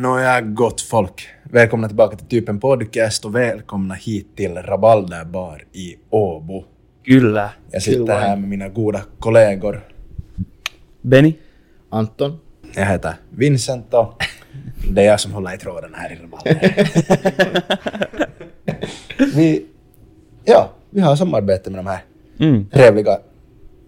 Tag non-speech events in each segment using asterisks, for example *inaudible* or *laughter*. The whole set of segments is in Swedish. Tja gott folk! Välkomna tillbaka till Typen Podcast och välkomna hit till Rabalderbar i Åbo. Kyllä. Jag sitter här med mina goda kollegor. Benny? Anton. Jag heter Vincent och det är jag som håller i tråden här i Rabalder. vi, ja, vi har samarbete med de här Mm. trevliga,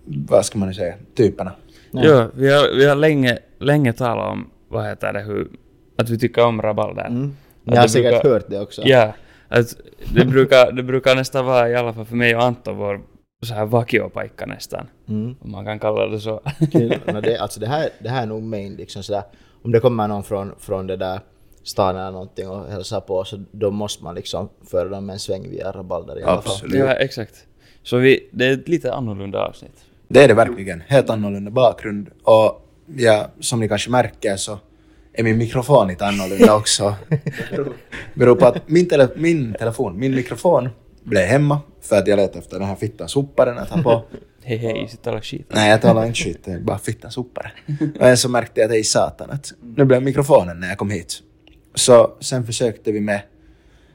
vad ska man nu säga, typerna. Jo, vi har, vi har länge, länge talat om, vad heter det, hur, att vi tycker om rabalder. Mm. Att Ni har det säkert brukar- hört det också. *laughs* Ja. Att det, brukar, det brukar nästan vara, i alla fall för mig och Anton, vår så här vakiopaikka nästan. Mm. Om man kan kalla det *laughs* så. Kul. Nå, det, alltså det, här, det här är nog main, liksom sådär. Om det kommer någon från, från det där stan eller någonting och hälsar på så då måste man liksom föra dem en sväng via rabalder i alla fall. Absolut. ja, exakt. Så vi, det är ett lite annorlunda avsnitt. Det är det verkligen. Helt annorlunda bakgrund. Och ja, som ni kanske märker så är min mikrofon lite annorlunda också. Beror på att min, tele min telefon, min mikrofon blev hemma för att jag letade efter den här fittan soparen att ha på. Hej hej, sitta och skit. Nej, jag talar inte skit, det är bara fittan sopare. Men så märkte jag att i satan att nu blev mikrofonen när jag kom hit. Så sen försökte vi med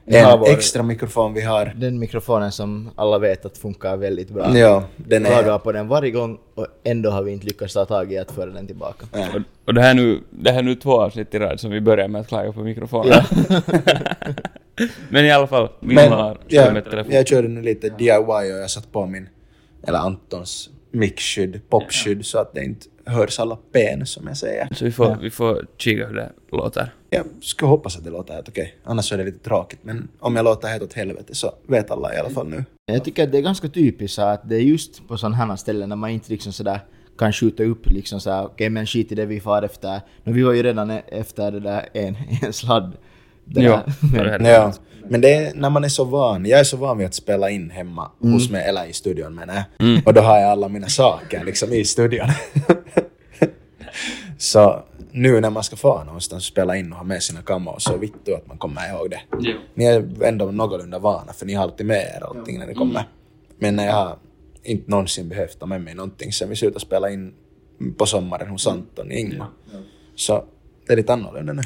Vi har en vår- extra mikrofon vi har. Den mikrofonen som alla vet att funkar väldigt bra. Ja, den Vi är... klagar på den varje gång och ändå har vi inte lyckats ta tag i att föra den tillbaka. Och, och det, här nu, det här är nu två avsnitt i rad som vi börjar med att klaga på mikrofonen. *laughs* Men i alla fall, vi Men har jag, med telefon. jag körde nu lite DIY och jag satt på min, eller Antons mixskydd, popskydd så att det inte hörs alla pen som jag säger. Så vi får, vi får kika hur det låter. Jag skulle hoppas att det låter helt okej, annars så är det lite tråkigt. Men om jag låter helt åt helvete så vet alla i alla fall nu. Jag tycker att det är ganska typiskt så att det är just på sådana här ställen när man inte liksom sådär kan skjuta upp liksom såhär okej men skit i det vi far efter. Men vi var ju redan e- efter det där en, *laughs* en sladd. Det Ja, det där. *laughs* är Men- det. Ja. Men det är när man är så van. Jag är så van vid att spela in hemma hos mig, eller i studion menar jag. Och då har jag alla mina saker liksom i studion. *laughs* så nu när man ska fara någonstans och spela in och ha med sina kameror så vittu att man kommer ihåg det. Ja. Ni är ändå någorlunda vana för ni har alltid med er allting när ni Mm. kommer. Men jag har inte någonsin behövt ta med mig någonting sen vi slutade spela in på sommaren hos Mm. Anton i Ingmar. Så det är lite annorlunda nu.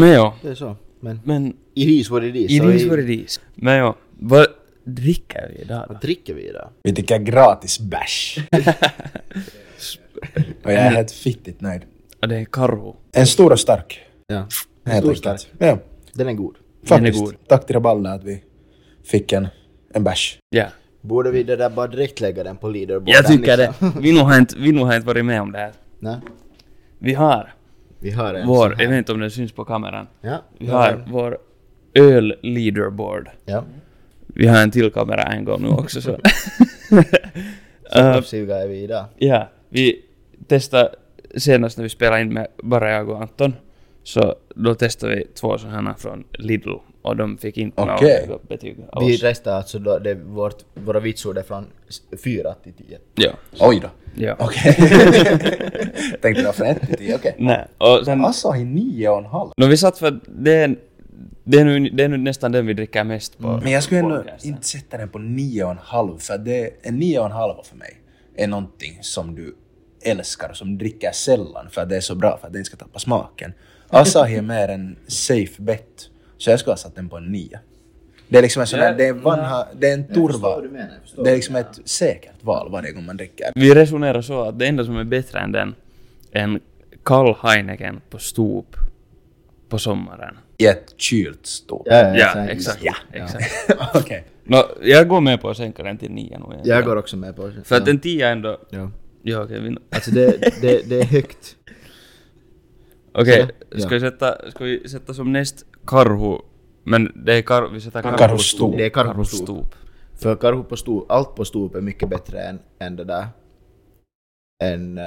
Men ja, Det är så. Men men... it is what it is. It så is i- what it is. Men ja, vad dricker vi idag då? Vad dricker vi idag? Vi dricker gratis *laughs* bärs. och jag är helt fittigt nöjd. Ja, det är Karhu. En stor och stark. Ja. Helt Stor enkelt. Ja, Den är god. Den är faktiskt. god. Tack till Rabalda att vi fick en, en bärs. Ja. Borde vi det där bara direkt lägga den på leaderboarden? Jag tycker det. liksom? Vi nog har inte, vi nog har inte varit med om det här. *laughs* Nej, Vi har vi har en vår, sån jag här. vet inte om den syns på kameran. Ja, Vi har vår öl-leaderboard. Ja. Vi har en till kamera en gång nu också *laughs* så... *laughs* Eh, Så toppsuga är vi idag. Ja, vi testade senast när vi spelade in med bara jag och Anton. Så då testade vi två sådana från Lidl och de fick inte Okej. några betyg av Vi oss. restar alltså då, det är vårt, våra vitsord är från 4 till 10. Ja. Oj då. ja. Okej. *laughs* Tänkte det var från ett till tio, okej. Nej, och sen... Asahi nio och en halv. No, vi satt för... Det är, en- det, är nu, det är nu nästan den vi dricker mest på. Men jag skulle ändå podcasten. inte sätta den på nio och en halv för det en nio och en halv för mig är någonting som du älskar och som dricker sällan för att det är så bra för att den ska tappa smaken. Asahi är mer en safe bet, så jag skulle ha satt den på en nio. Det är liksom en sån där, det är vanha, det är en turva. Det är liksom ett säkert val varje gång man dricker. Vi resonerar så att det enda som är bättre än den, en kall Heineken på stop på sommaren. I ett kylt stort. Eh, Ja, exakt. Ja. exakt. *laughs* Okej. Nå, jag går med på att sänka den till nio nu. Jag går också med på det. För att en tia ändå... Ja. Ja, okej. vi- *laughs* Alltså det, det, det är högt. Okej, Ja. ska, vi sätta, ska vi sätta som näst karhu? Men det är kar, vi sätter karhu, Karhustop. Det är karhu på stop. Karhustop. För karhu på stop, allt på stop är mycket bättre än, än det där. Än eh,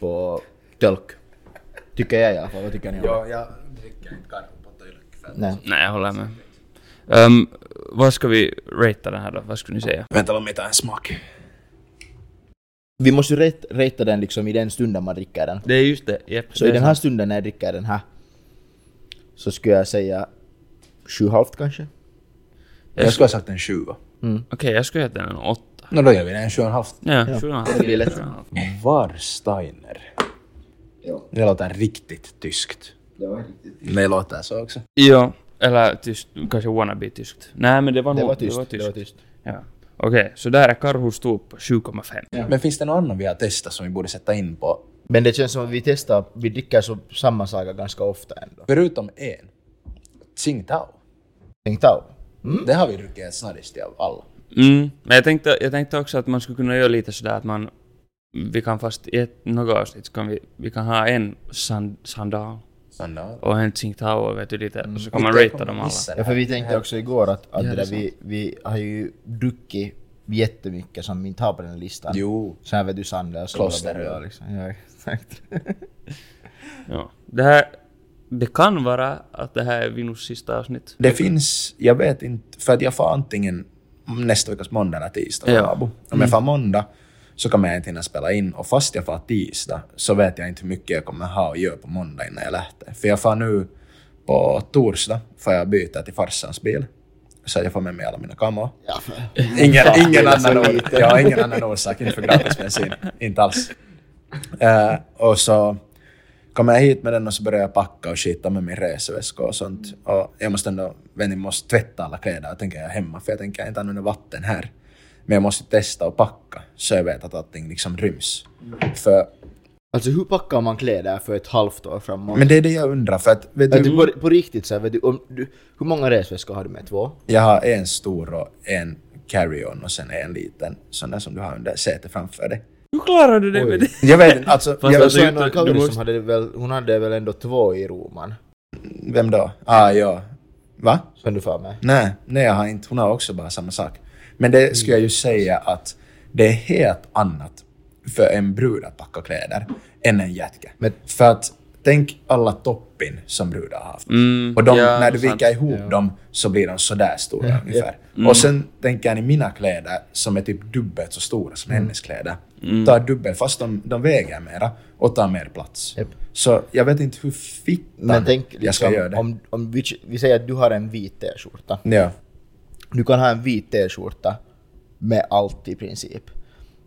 på tölk. Tycker jag i alla fall. Vad tycker ni om det? jag dricker inte karv på tölk för Nej. Nej, jag håller med. Ehm, vad ska vi ratea den här då? Vad skulle ni säga? Vänta, låt mig ta en smak. Vi måste ju rate- ratea den liksom i den stunden man dricker den. Det är just det, Jep, Så det i är den sant. här stunden när jag dricker den här så skulle jag säga 7,5 kanske? Jag skulle ha sagt en tjugo. Okej, jag skulle ge den en åtta. Nå då gör vi det, en sju och en halv. Ja, sju och en halv. Det blir lätt. Sju och en halv. Warsteiner. Det låter riktigt tyskt. Det var riktigt. Det låter så också. Jo, eller tyst, kanske wannabe tyskt. Nej men det var Det nog- var tyst. Det var tyst. Ja. Okej, så där är Karhus top 7,5. Men finns det någon annan vi har testat som vi borde sätta in på? Men det känns som att vi testar, vi dricker så samma saker ganska ofta ändå. Förutom en. Tsingtao. Tänk tau. Mm. Det har vi druckit snabbast av alla. Mm. Men jag tänkte, jag tänkte också att man skulle kunna göra lite sådär att man... Vi kan fast i ett, något avsnitt så kan vi, vi kan ha en sand, sandal Sandal. och en Tsingtao vet du lite, och så kan man Inte ratea kommer dem alla. missa det Ja, för här. vi tänkte också igår att, att Ja, det det är där, vi, vi har ju druckit jättemycket som vi inte har på den här listan. Jo. Så här vet du Sander och så Klosteröl. bla, bla, bla, liksom. Ja, exakt. Ja. Det här... Det kan vara att det här är Vinus sista avsnitt. Det finns, jag vet inte, för att jag får antingen nästa veckas måndag eller tisdag. Ja. Om jag får måndag så kommer jag inte hinna spela in och fast jag får tisdag så vet jag inte hur mycket jag kommer ha att göra på måndag innan jag lähter. För jag får nu på torsdag får jag byta till farsans bil. Så att jag får med mig alla mina kameror. Ja, för- Ingen, Fan, ingen, det är så annan, or- lite. ja, ingen annan orsak, inte för gratis bensin. Inte alls. Eh, och så kommer jag hit med den och så börjar jag packa och skita med min reseväska och sånt. Och jag måste ändå, men jag måste tvätta alla kläder, tänker jag hemma, för jag tänker inte använda vatten här. Men jag måste testa och packa, så jag vet att allting liksom ryms. För, Alltså hur packar man kläder för ett halvt år framåt? men det är det jag undrar, för att vet att du, du, på, på riktigt så här, vet du, om du, hur många resväskor har du med? Två? jag har en stor och en carry-on och sen en liten sån där som du har under sätet framför dig. Hur klarar du det med det? Jag vet inte, alltså... Fast jag, Jag alltså- såg inte- någon du Kauri måste- som hade väl, hon hade väl ändå två i roman? Vem då? Ah, ja. Va? Som du får med. Nej, nej jag har inte. Hon har också bara samma sak. Men det skulle jag ju säga att det är helt annat för en brud att packa kläder än en jätke. Men- För att tänk alla toppin som brudar har haft. Mm, och de, ja, när du sant. viker ihop dem så blir de sådär stora Ja, ungefär. Mm. Och sen tänker jag i mina kläder som är typ dubbelt så stora som Mm. hennes kläder. Tar dubbelt fast de, de väger mera och tar mer plats. Japp. Så jag vet inte hur fittan Men tänk jag ska liksom, göra det. om, om vi, vi säger att du har en vit t-skjorta. Ja. Du kan ha en vit t-skjorta med allt i princip.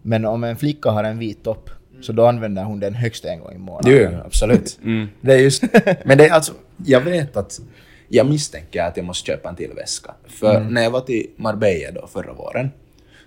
Men om en flicka har en vit topp, Mm. så då använder hon den högst en gång i månaden. Jo, jo, absolut. Mm. Det är just, *laughs* men det är alltså, jag vet att jag misstänker att jag måste köpa en till väska. För när jag var till Marbella då förra våren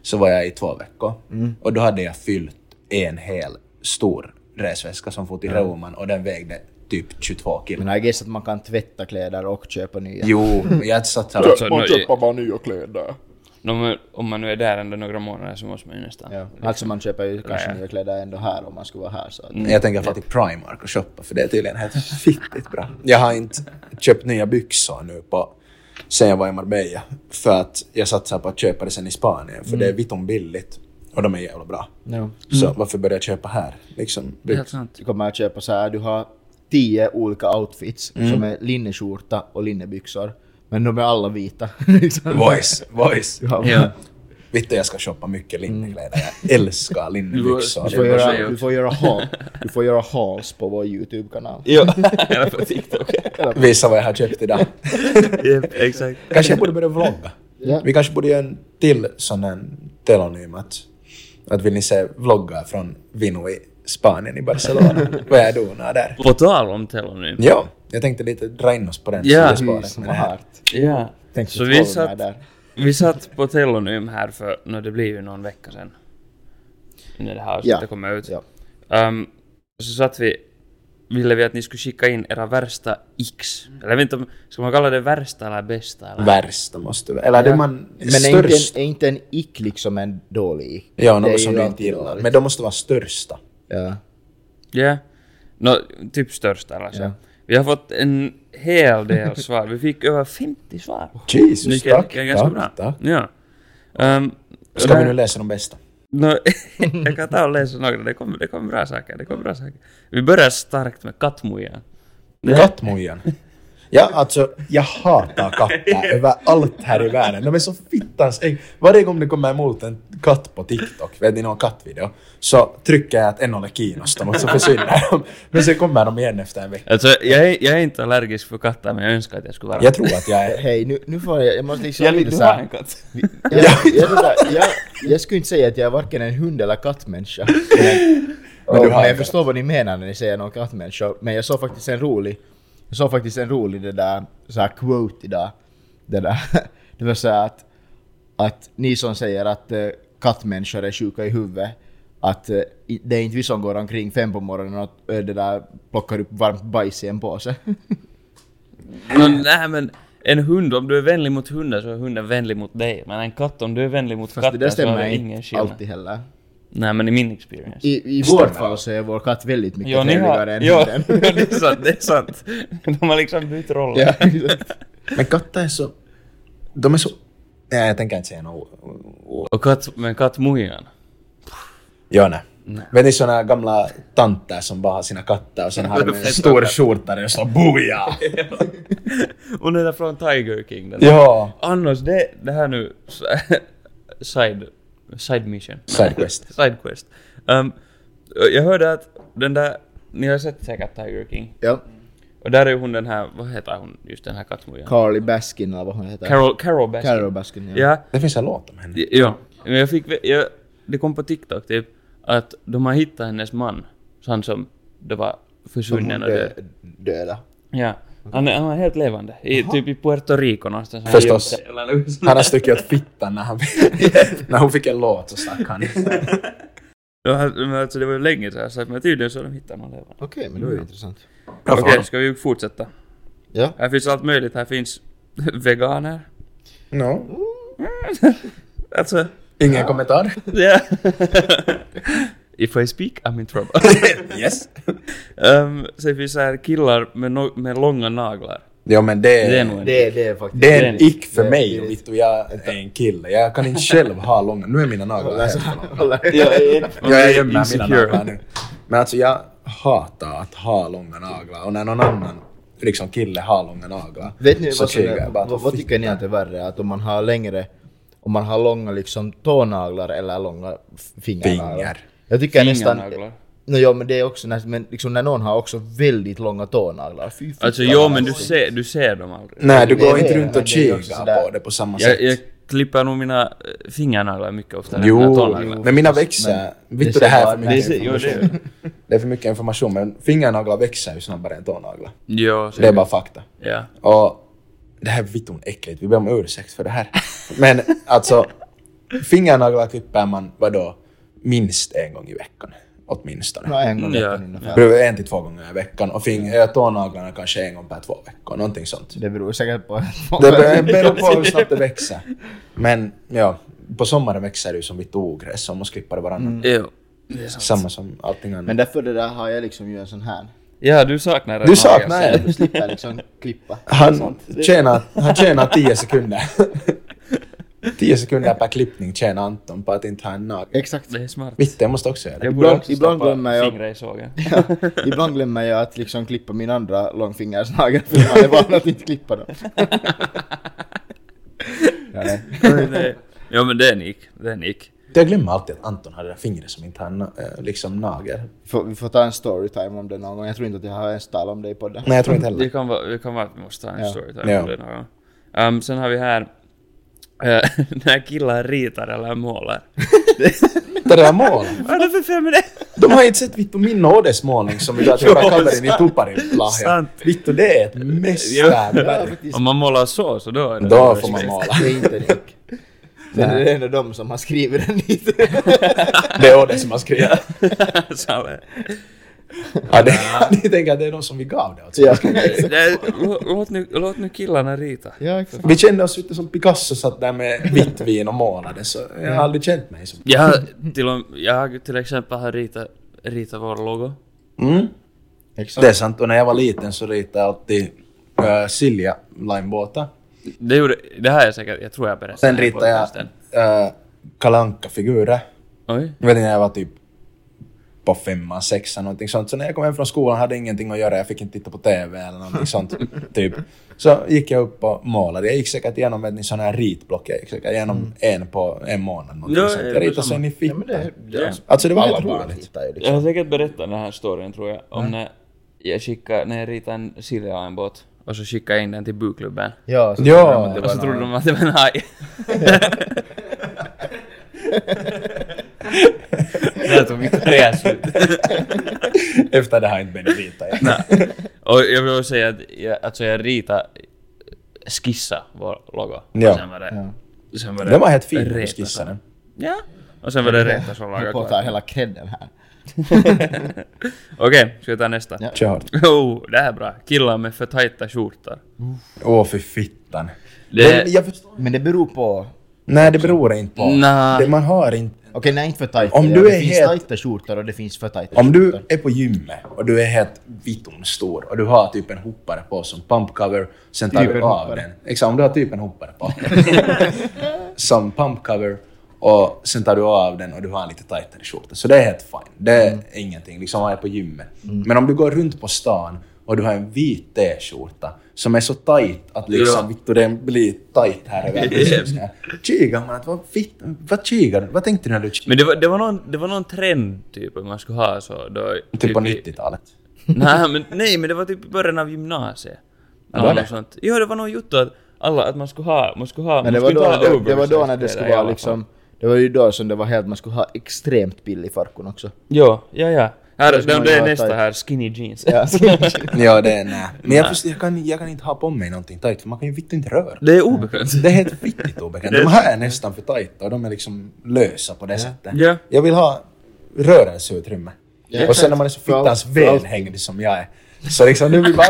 så var jag i två veckor och då hade jag fyllt en hel stor resväska som for till Roman och den vägde typ 22 kilo. Men jag gissar att man kan tvätta kläder och köpa nya. Jo, jag satt här Alltså, nu- bara nya kläder. no, men om man nu är där ändå några månader så måste man ju nästan... Ja. Alltså man köper ju kanske Ja, ja. nya kläder ändå här om man skulle vara här. Mm. Så att, Jag tänker få till Primark och shoppa för det är tydligen helt fittigt bra. Jag har inte köpt nya byxor nu på sen jag var i Marbella. För att jag satsar på att köpa det sen i Spanien för det är vitt om billigt och de är jävla bra. ja. Så varför börjar jag köpa här? Liksom, Det är helt sant. *laughs* Du kommer att köpa så här, du har tio olika outfits Mm. som är linneskjorta och linnebyxor. Men de är *laughs* alla vita. liksom. voice, voice. Du, har, Ja. Vittu jag ska shoppa mycket linnekläder. Jag älskar linnebyxor. Du du, får Det är bara så göra, gjort. du, får göra haul, du får göra hauls på vår YouTube-kanal. Ja. Eller på TikTok. Visa vad jag har köpt idag. Jep, exakt. Kanske jag borde börja vlogga. Ja. Vi kanske borde göra en till sån här telonym att, att vill ni se vloggar från Vino i Spanien i *laughs* Barcelona? Vad jag donar där. På tal om telonym. Ja, jag tänkte lite dra in oss på den Ja. sidospåret Som med var det här. här. Ja. Tänk Så så vi vi satt- där. Vi satt på telonym här för, no, det blir ju någon vecka sedan. När det här avsnittet Ja. kommer ut. Ja. Ehm, så satt vi, ville vi att ni skulle skicka in era värsta x. Eller jag vet inte om, ska man kalla det värsta eller bästa? Eller? Värsta måste väl... Eller det man Mm. Men är inte, störst... en, är inte en ick liksom en dålig ick? Ja, Det är något som ju du inte alltid gillar. dåligt. Men de måste vara största. Ja. Ja. Nå, typ största eller så. Ja. Vi har fått en hel del svar. Vi fick över 50 svar. Jesus, Vilket tack, är ganska tack, bra. tack. Ja. Ehm, Ska vi men- nu läsa de bästa? No, *laughs* jag kan ta och läsa några. Det kommer det kom bra saker. Det kom bra saker. Vi börjar starkt med kattmojan. Kattmojan. Niin. Ja, alltså, jag hatar *laughs* katter över allt här i världen. De är så fittans ägg. Varje gång det kommer emot en katt på TikTok, vet ni någon kattvideo, så trycker jag att en håller kiinnostan och så försvinner de. Men sen kommer de igen efter en vecka. Alltså, jag är, jag är inte allergisk för katter, men jag önskar att jag skulle vara Jag tror att jag är... Hej, nu, nu får jag... Jag måste liksom... Jag lite vill så ha här- en katt. *laughs* Jag, jag, jag, jag, jag skulle inte säga att jag är varken en hund *laughs* eller kattmänniska. Men, Men du har men en jag katt. förstår vad ni menar när ni säger någon kattmänniska. Men jag såg faktiskt en rolig Jag såg faktiskt en rolig det där, så här quote idag. Det, där. *laughs* det var så här att, att ni som säger att eh, kattmänniskor är sjuka i huvudet, att eh, i- det är inte vi som går omkring fem på morgonen och eh, det där, plockar upp varmt bajs i en påse. *laughs* Nå, nej men en hund, om du är vänlig mot hunden så är hunden vänlig mot dig. Men en katt, om du är vänlig mot Fast det där katten så är stämmer det ingen inte skillnad. alltid heller. Nej men i min experience. I, i vårt fall så är vår katt väldigt mycket Ja, ni har... trevligare än Ja, *laughs* hunden. ja, *laughs* det är sant, det är sant. De har liksom bytt roller. Ja, exakt. Men katter är så... De är så... Nej, jag tänker inte säga något. o- o- Och katt, men kattmojan. Ja, nej. Vet ni såna gamla tanter som bara har sina katter och sen har de en stor skjorta där det står boja! Och den där från Tiger King. Den. Ja! Annars, det, det här nu... *laughs* Side... Side mission. *laughs* Sidequest. Sidequest. Ehm, jag hörde att den där... Ni har sett säkert Tiger King. ja. Och där är ju hon den här... Vad heter hon? Just den här kattmojan. Carly Baskin eller vad hon heter. Carol, Carol Baskin. Carol Baskin, ja. Ja, Det finns en låt om henne. ja. Men jag fick... ve- Jag, det kom på TikTok typ att de har hittat hennes man. Så han som det var Som hon försvunnen och dö, det. döda. Ja. Han, är- han är helt levande. I, typ i Puerto Rico någonstans. Han Förstås. gömde sig eller något sånt. Han har stuckit åt fittan när, han, när hon fick en låt så stack han. Ja, han- men Alltså, det var ju länge sedan, så att- men tydligen så har de hittat någon levande. Okej, men det var ju Mm. intressant. Bra för Okej, honom. ska vi fortsätta? Ja. Här finns allt möjligt. Här finns *laughs* veganer. No. Alltså, Ingen kommentar? ja. *laughs* If I speak, I'm in *laughs* trouble. Yes. um, sen finns så här killar med, no- med långa naglar. Ja men det Det är är... nog en... Eh, Det, det är faktiskt... Det är en det är- ick för det- mig det är- och Vittu, jag är en kille. Jag kan inte själv ha långa... Nu är mina naglar Alltså, helt *laughs* långa. kolla. Jag gömmer mina Insecure. naglar nu. Men alltså jag hatar att ha långa naglar och när någon annan liksom kille har långa naglar Vet ni så vad, som tycker är, jag bara vad, att vad tycker ni att det är värre? Att om man har längre... Om man har långa liksom tånaglar eller långa f- fingernaglar? Fingrar. Jag tycker nästan... Fingernaglar. No, ja, men det är också nästan... Men liksom när någon har också väldigt långa tånaglar. Fy fan. Alltså jo, men du ser, du ser dem aldrig. Nej, du Nej, går det inte är- runt men och det är ju också kikar sådär. på det på samma sätt. Jag, jag klipper nog mina eh, fingernaglar mycket oftare än mina Jo, tånaglar. men mina växer. men Vittu, det det här ser är för bara- Det mycket ser, jo, det gör information. jag. Det är för mycket information, men fingernaglar växer ju snabbare än tånaglar. Jo, Det är säkert. bara fakta. Ja. Och det här är vitton äckligt, vi ber om ursäkt för det här. Men alltså, fingernaglar klipper man vadå, minst en gång i veckan. Åtminstone. Ja, en gång i Ja. veckan ungefär. Det beror en till två gånger i veckan och fing- eh, tånaglarna kanske en gång per två veckor, någonting sånt. Det beror säkert på... Det ber- beror på hur snabbt det växer. Men ja, på sommaren växer det ju som vitt ogräs, så man måste klippa det varannan. Jo. Det är sant. Samma som allting annat. *laughs* Men därför det där har jag liksom ju en sån här. Ja, du saknar en Du nagel, saknar säger en. Då slipper jag liksom klippa. han, tjänar, han tjänar 10 sekunder. *laughs* 10 sekunder per klippning tjänar Anton på att inte ha en nagel. Exakt. du. Det är smart. Vitt, jag måste också göra det. Jag borde Ibland- också ibland stoppa glömmer jag- fingrar i sågen. Ibland glömmer jag att liksom klippa min andra långfingersnagel för man är van att inte *laughs* klippa dem. ja, nej. Det- *laughs* ja men det är Nick. Det är Nick. Jag glömmer alltid att Anton hade det där fingret som inte har en na- eh, liksom, nagel. Får, vi får ta en storytime om det någon gång. Jag tror inte att jag har ens talat om det i podden. Nej, jag tror inte Det heller. kan vara, det kan vara att vi måste ha en Ja. storytime Mm. Ja. om det någon gång. Ehm, sen har vi här eh, *laughs* när killar ritar eller målar. Det där målet. Vad är det för fel med det? De har inte sett Vittu min ådesmålning som vi gav till Jo, Kakaverin i sant. *laughs* Tuparilahja. Sant. Vittu, det är ett Ja, mästerverk. faktiskt. Om man målar så, så då är det... Då *laughs* får man måla. Det är inte Nick. *laughs* Men det är ändå de som har skrivit den dit. Det är Åde som har skrivit. Salle. Ja, det, *laughs* ni tänker att det är de som vi gav det åt. *laughs* ja. Det är- lå- låt, nu, låt nu killarna rita. ja, exakt. Vi kände oss lite som Picasso satt där med vitt vin och målade, så jag har aldrig känt mig som... Jag har till, och- jag har till exempel har ritat, ritat vår logo. Mm. Det är sant, och när jag var liten så ritade jag alltid äh, Silja linebåtar. Det, gjorde, det här är säkert... Jag tror jag berättade Sen det här i ritade jag podcasten. äh, kalanka figurer Oj. Jag vet inte, jag var typ på femman, sexan någonting sånt. Så när jag kom hem från skolan hade jag ingenting att göra. Jag fick inte titta på TV eller någonting *laughs* sånt. typ. Så gick jag upp och målade. Jag gick säkert igenom ett sån här ritblock. Jag gick säkert igenom en på en månad. Någonting Mm. Ja, sånt. det är Jag ritade samma. sen i Ja, men fittan. det, det, Alltså det var jag alla tror att vanligt. hitta ju liksom. Jag har säkert berättat den här storyn tror jag, om när jag skickade, när jag ritade en Silja-båt och så skickade jag in den till buklubben. Ja, så Ja. tror jag att Det Och så en trodde annan. Alltså, de att det var en haj. Där tog mitt resa slut. Efter det har jag inte börjat rita igen. *laughs* Nej. *laughs* Och jag vill också säga att jag, alltså jag ritade, skissa vår logo. Ja. Och sen var det... Sen var det Den var helt fin när du Retas- skissade den. Ja. Och sen var det Reta som lagade *laughs* Jag på att kvar. ta hela credden här. Okej, ska vi ta nästa? Ja. Kör hårt. *laughs* Oh, det här är bra. Killar med för tajta skjortor. Åh, för fittan. Det- Men jag förstår. Men det beror på... Nej, det beror inte på. Nä. Det man har inte. Okej, nej inte för tajta. Om Ja, du det är finns helt- tajta skjortor och det finns för tajta Om skjortor. du är på gymmet och du är helt vitton stor och du har typ en hoppare på som pumpcover, sen tar Typ du en av hoppare. den. Exakt, om du har typ en hoppare på som pumpcover och sen tar du av den och du har en lite tajtare skjorta. Så det är helt fine. Det är ingenting, liksom vad jag är på gymmet. Men om du går runt på stan och du har en vit t-skjorta som är så tajt att liksom Ja. Victor, den blir tajt här över. Kikar man att vad, fitt, vad kikar du? Vad tänkte du när du kikade? Men det var, det var, någon, det var någon trend typ att man skulle ha så. Då, Typ på i- 90-talet. *laughs* Nej men, nej, men det var typ i början av gymnasiet. det var Eller det. något sånt. Jo, det var någon jotto att alla, att man skulle ha, man skulle ha, Men man det var, skulle då, inte ha det, det var då oversized när det kläder skulle i vara alla fall. liksom... Det var ju då som det var helt, man skulle ha extremt billig farkon också. Jo, ja, ja. Här, Då skulle det, man det ju är ha nästa tight. här, skinny jeans. Ja. *laughs* *laughs* Ja, det är nej. Men jag, förstår, jag, kan, jag kan inte ha på mig någonting tajt för man kan ju vitt inte röra. *laughs* det är obekvämt. Det är helt viktigt obekvämt. De här är nästan för tajta och de är liksom lösa på det sättet. Ja. Jag vill ha rörelseutrymme. Ja, och sen när man är så för allt- fittans för allt. välhängd som jag är. Så liksom nu blir bara...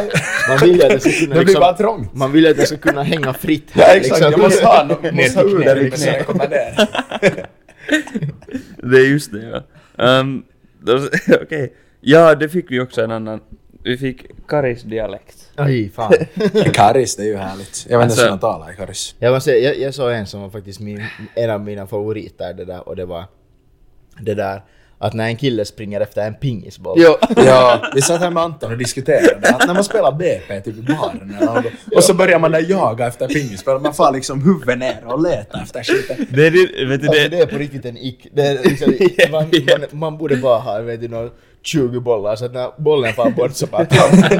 Man vill ju att det ska kunna liksom- det blir bara trångt. Man vill ju att det ska kunna hänga fritt Liksom. Ja här. exakt, jag måste ha, nå- jag måste ha ur det lite liksom. så jag kommer där. Det är just det, ja. Ehm, då- *laughs* Okej. Ja, det fick vi också en annan. Vi fick Karis dialekt. Aj, fan. Karis, det är ju härligt. Jag vet inte ens Alltså- hur man talar i Karis. Jag, måste säga, jag, jag såg en som var faktiskt min, en av mina favoriter det där, och det var det där att när en kille springer efter en pingisboll. Ja, vi satt här med Anton och diskuterade att när man spelar BP typ i baren eller något, och så börjar man där jaga efter pingisbollar, man får liksom huvudet ner och letar efter skiten. Det är det, vet du Alltså det? det är på riktigt en ick. Det är *laughs* liksom, man, man, man borde bara ha vet du, någon 20 bollar så att när bollen far bort så bara tar man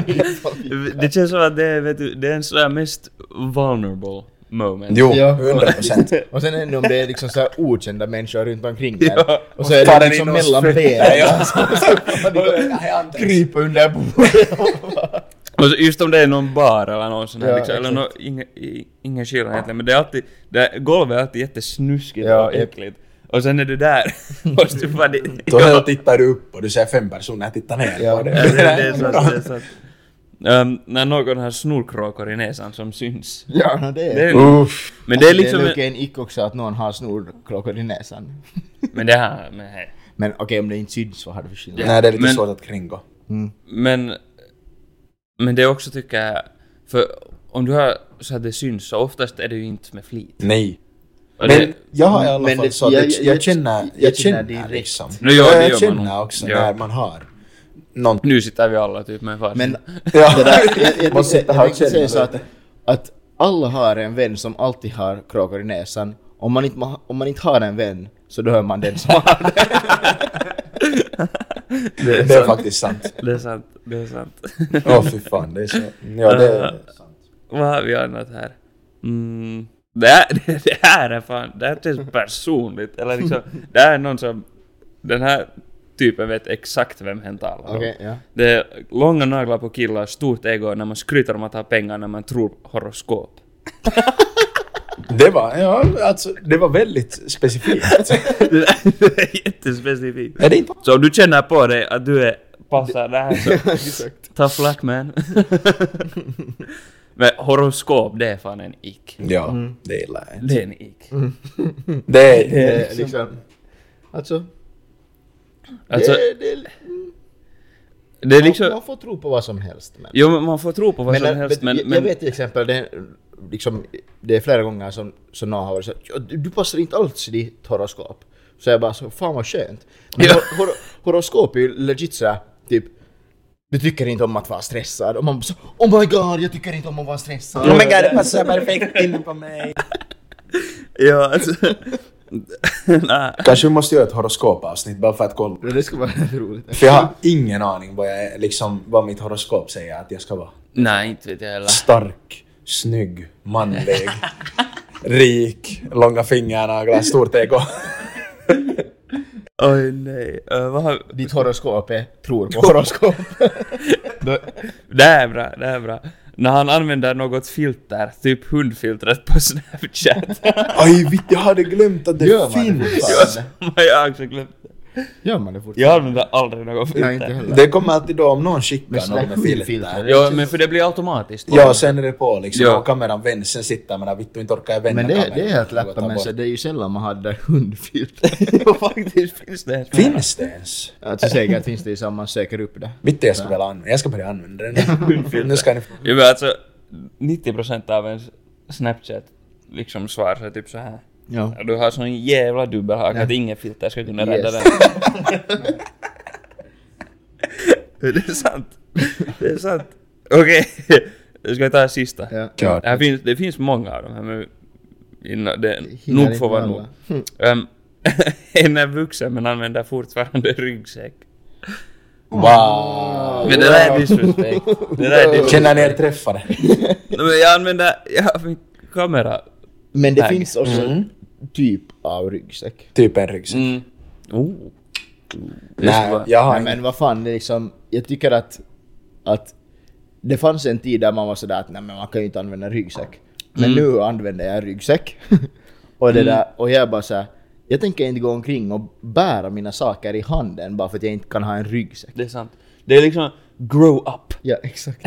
den. Det känns som att det är, vet du, det är en sån här mest vulnerable moment. Jo, *laughs* Ja. 100 procent. Och sen ännu om det är liksom så här okända människor runt omkring där. Ja. Och så är Tar det den liksom in oss mellan fötter, benen. ja. Krypa under bordet. Och så just om det är någon bar eller någon sån här, Ja, liksom, eller någon, inga, i- ingen skillnad egentligen, men det är alltid, det, golvet är alltid jättesnuskigt Ja, och japp. äckligt. Och sen är du där, *laughs* och så bara det, Då här tittar du upp och du ser fem personer titta ner Ja. på Ja, det, det är dig. sant, det är sant. Ehm, när någon har snorkråkor i näsan som syns. *laughs* Ja, det är Alltså, Det är, Uff. men det är Det liksom... är nog en ick också att någon har snorkråkor i näsan. Men det här... Men, hej. Men okej, om det inte syns vad har det för skillnad? Nej, det är lite Men- svårt att kringgå. men... Men det är också tycker jag... För om du har så att det syns så oftast är det ju inte med flit. Nej. Och Men det- jag har i alla men fall det- så att jag, jag- jag, jag- känner, jag jag känner känner direkt. liksom. Nu gör- det jag gör man känner nog. också Ja. när man har någon... nu sitter vi alla typ med en fars. *laughs* Men Ja. det där, jag, jag, Måste tänkte- inte ha jag tänkte säga känna så att, lite. att alla har en vän som alltid har kråkor i näsan. Om man, inte, ma- om man inte har en vän så då hör man den som har det. Det är faktiskt sant. Det är sant, det är sant. Åh fy fan, det är så... Ja, det är sant. Vad har vi annat här? Mm. Det, här *laughs* det, här är fan... Det här känns personligt. Eller liksom... Det här är någon som... Den här typen vet exakt vem hen talar om. Okej, *laughs* ja. Det är långa naglar på killar, stort ego när man skryter om att ha pengar när man tror horoskop. Det var, ja, alltså, det var väldigt specifikt. det där är jättespecifikt. är det inte? Så om du känner på dig att du är passar det här så... Tough luck man. Men horoskop, det är fan en ick. Ja, det gillar jag. Det är en ick. Det är... Det är liksom, alltså, Alltså, det, det, det är man, liksom... man får tro på vad som helst. Men, Jo, men man får tro på vad som helst, men... jag, men jag vet till exempel, det, liksom, det är flera gånger som, som någon har varit så här, "Ja, du, du passar inte alls i ditt horoskop. Så jag bara så, fan vad skönt. Men Ja. hor, hor, horoskop är ju legit så här, typ, du tycker inte om att vara stressad. Och man bara så, oh my god, jag tycker inte om att vara stressad. Oh my god, det passar perfekt in på mig. Ja, alltså... *laughs* Nej. Kanske vi måste göra ett horoskopavsnitt bara för att kolla. Ja, Det skulle vara *laughs* roligt. För jag har ingen aning vad, jag, är- liksom, vad mitt horoskop säger att jag ska vara. Nej, inte vet jag heller. Stark, snygg, *laughs* manlig, rik, långa fingernaglar, stort ego. Oj, nej. Eh, vad har... *laughs* Ditt horoskop är tror på horoskop. Då- Det här är bra, det här är bra. När han använder något filter, typ hundfiltret på *laughs* Snapchat. Aj, vitt, jag hade glömt att det Gör man det finns! fortfarande? jag har också glömt det. Gör man det fortfarande? Jag använder aldrig något Nej, inte filter. heller. Det kommer alltid då om någon Men skickar sådär någon med filter. filter. Ja, men för det blir automatiskt. Ja, sen är det på liksom. Ja. Och kameran vänds, sen sitter man där. Vittu, inte orkar jag vända Men det, kameran. det är helt Jag går och läppa, tar men bort. så det är ju sällan man hade *laughs* hundfilter. Jo, faktiskt *laughs* finns det. ens. Finns det ens? Alltså säkert finns det ju samma, man söker upp det. Vittu, jag ska väl använda Jag ska börja använda *laughs* den. nu ska ni... Jo, men alltså 90% av ens Snapchat liksom svar så är typ så här. Ja. Ja, Du har sån jävla dubbelhaka att inget filter ska kunna rädda Yes. den. *laughs* det är sant. Det är sant. Okej, *laughs* ska vi ta sista? Ja. Klart. Det, här finns, det finns många av de här, men innan- det, Hinner nog inte får vara alla. Hm. nog. Um, *laughs* en är vuxen men använder fortfarande ryggsäck. Wow! Men det där är disrespect. Det där är disrespect. Känner ni er träffade? Nej, Men jag använder, jag har min kamera. Men det Tag. finns också typ av ryggsäck. Typ en ryggsäck. Mm. Oh. Det ska Nej, vara- jag har Nej, ingen. men vad fan, det är liksom, jag tycker att, att det fanns en tid där man var sådär att nej men man kan ju inte använda ryggsäck. Men Mm. nu använder jag ryggsäck. *laughs* och, det där, och jag är bara såhär, jag tänker inte gå omkring och bära mina saker i handen bara för att jag inte kan ha en ryggsäck. Det är sant. Det är liksom grow up. Ja, *laughs* exakt.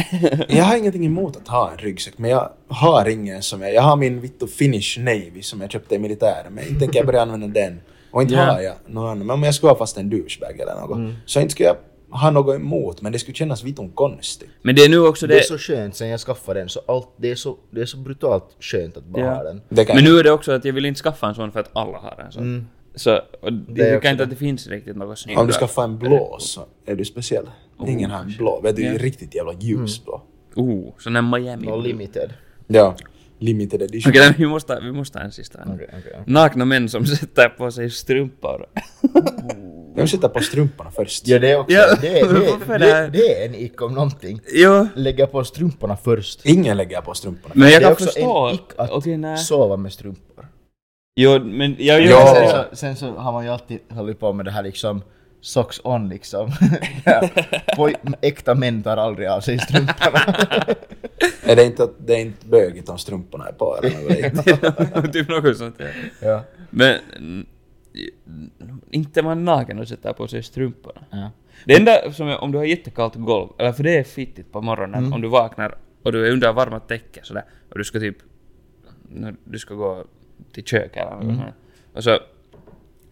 Jag har ingenting emot att ha en ryggsäck, men jag har ingen som jag... Jag har min Vittu Finnish Navy som jag köpte i militären, men inte tänker jag börja använda den. Och inte Ja. har jag någon annan. Men om jag skulle ha fast en douchebag eller något, så inte skulle jag ha något emot, men det skulle kännas vittun konstigt. Men det är nu också det... Det är så skönt sen jag skaffade den, så allt, det, är så, det är så brutalt skönt att bara Ja. ha den. Det kan men nu är det också att jag vill inte skaffa en sån för att alla har en sån. Så och det jag Mm. är tycker också inte att det finns riktigt något snyggt. Om du ska få en blå så är du speciell. Ingen har en blå. Vet du, det är riktigt jävla ljusblå. Oh, sån här Miami. No *laughs* Okej, limited. Ja. Limited edition. nej, vi, måste, vi måste ha en sista. Okej, okej. Nakna män som *laughs* sätter på sig strumpor. Jag vill sätta på strumporna först. Ja det är också, Ja, det, är- varför det, det här? det, det är en ick om någonting. jo, Lägga på strumporna först. Ingen lägger på strumporna. men jag det är kan också förstå. en ick att Okej, nej. sova med strumpor. Jo, men jag gör Ja. det. Sen, så, sen så har man ju alltid hållit på med det här liksom socks on liksom. *laughs* Poj, äkta män tar aldrig av sig strumporna. Är det inte, att- det är inte bögigt om strumporna är på *laughs* eller något? Det- typ något sånt ja. ja. Men... mm, Inte man naken och sätter på sig strumporna. Ja. Det enda som är om du har jättekallt golv, eller för det är fittigt på morgonen Mm. om du vaknar och du är under varma täcken sådär och du ska typ... nå, Du ska gå till köket eller Mm. något sånt. Och så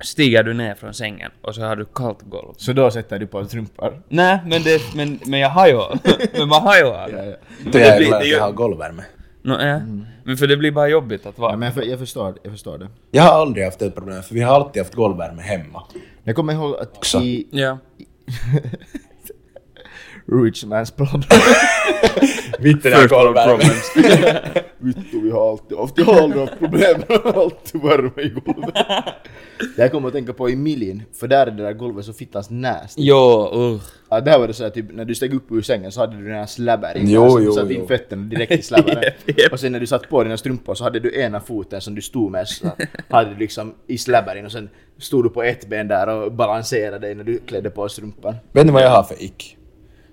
stiger du ner från sängen och så har du kallt golv. Så då sätter du på strumpor. Nej, men, det, men, men jag har ju... *laughs* men man har ju aldrig. Ja, ja. Men Jag är blir- glad att jag gör- har golvvärme. Nå, ja. Men för det blir bara jobbigt att Mm. Ja, vara... men jag, för, jag, förstår, jag förstår det. Jag har aldrig haft det problemet, för vi har alltid haft golvvärme hemma. Jag kommer ihåg att Också. i Ja. Rich Man's problem. Vittu, Vittu, vi har alltid haft, jag har aldrig haft problem med alltid värme i golvet. Det här kommer jag att tänka på i Milin, för där är det där golvet så fittans näst. Jo, uh. *laughs* Ja, där var det så här, typ när du steg upp ur sängen så hade du den här slabbar i Jo, så du jo, satte jo. in fötterna direkt i *laughs* slabbaren. Japp, japp. Och sen när du satt på dina strumpor så hade du ena foten som du stod med så hade du liksom i slabbaren och sen stod du på ett ben där och balanserade dig när du klädde på strumpan. Vet ni vad jag har för ick?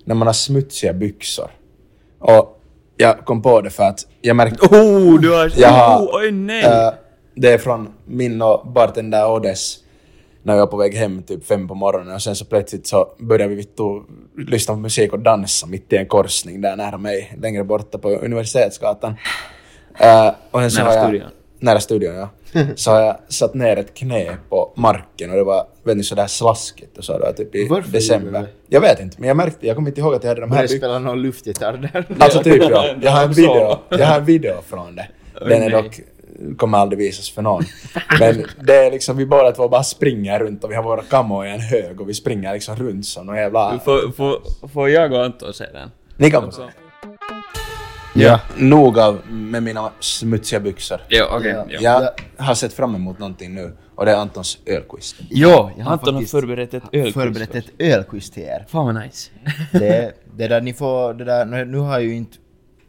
När man har smutsiga byxor. Och jag kom på det för att jag märkte... Oh, du har... Jag har- Oh, oj nej! Eh, det är från min och bartender Odess när jag var på väg hem typ fem på morgonen och sen så plötsligt så började vi vittu lyssna på musik och dansa mitt i en korsning där nära mig, längre borta på Universitetsgatan. Eh, och sen så Nära har jag, studion. Nära studion, ja. Så har jag satt ner ett knä på marken och det var, vet ni, sådär slaskigt och så. Det var typ i Varför gjorde december. du det? Jag vet inte, men jag märkte, jag kommer inte ihåg att jag hade de här Började byxorna. spela någon luftgitarr där. Alltså typ ja. Jag har en Så. video, jag har en video från det. Den är nej. dock, kommer aldrig visas för någon. Men det är liksom, vi båda två bara springer runt och vi har våra kammor i en hög och vi springer liksom runt som någon jävla... Får, får, får jag och Anton se den? Ni kan Ja. Nog av med mina smutsiga byxor. Jo, okej. Ja. jo. Jag har sett fram emot någonting nu och det är Antons ölquiz. Jo, jag har Anton Anton har har förberett ett ölkurs. Förberett ett ölquiz till er. Fan vad nice. Det, det där ni får, det där, nu- nu har ju inte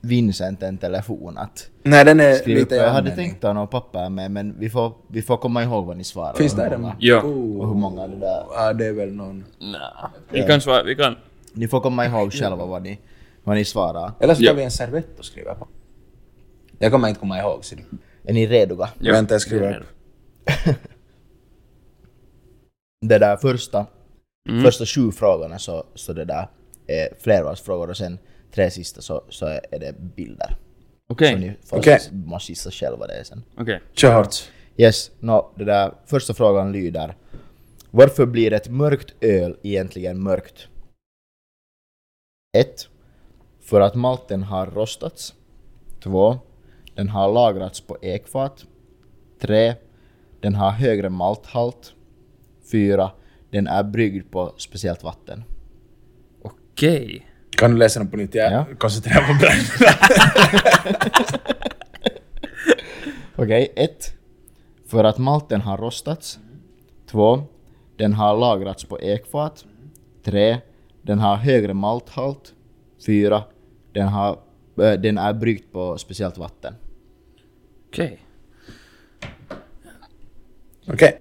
Vincent en telefon att Nej, den är skriva upp. lite i Jag hade användning. tänkt ha någon papper med men vi får, vi får komma ihåg vad ni svarar. Finns och det hur den? många- Ja. Oh, Och hur många det där... Ja, det är väl någon... Nja. Vi kan svara, vi kan. Ni får komma ihåg själva vad ni, vad ni svarar. Eller så tar Ja. vi en servett och skriver på. Jag kommer inte komma ihåg. ser du. Är ni redo? Ja, Vänta, jag skriver det är upp. det där första, första sju frågorna så, så det där är flervalsfrågor och sen tre sista så, så är det bilder. Så Okej, ni får Okej. måste gissa själva det är sen. okej. Kör hårt. Yes, no, det där första frågan lyder. Varför blir ett mörkt öl egentligen mörkt? 1. För att malten har rostats. 2. Den har lagrats på ekfat. 3. Den har högre malthalt. 4. Den är bryggd på speciellt vatten. Okej. Kan du läsa den på nytt? Jag Ja. koncentrerar mig på bränderna. Okej, 1. För att malten har rostats. 2. Den har lagrats på ekfat. 3. Den har högre malthalt. 4. Den, har, eh, den är bryggt på speciellt vatten. Okej. *laughs* Okej.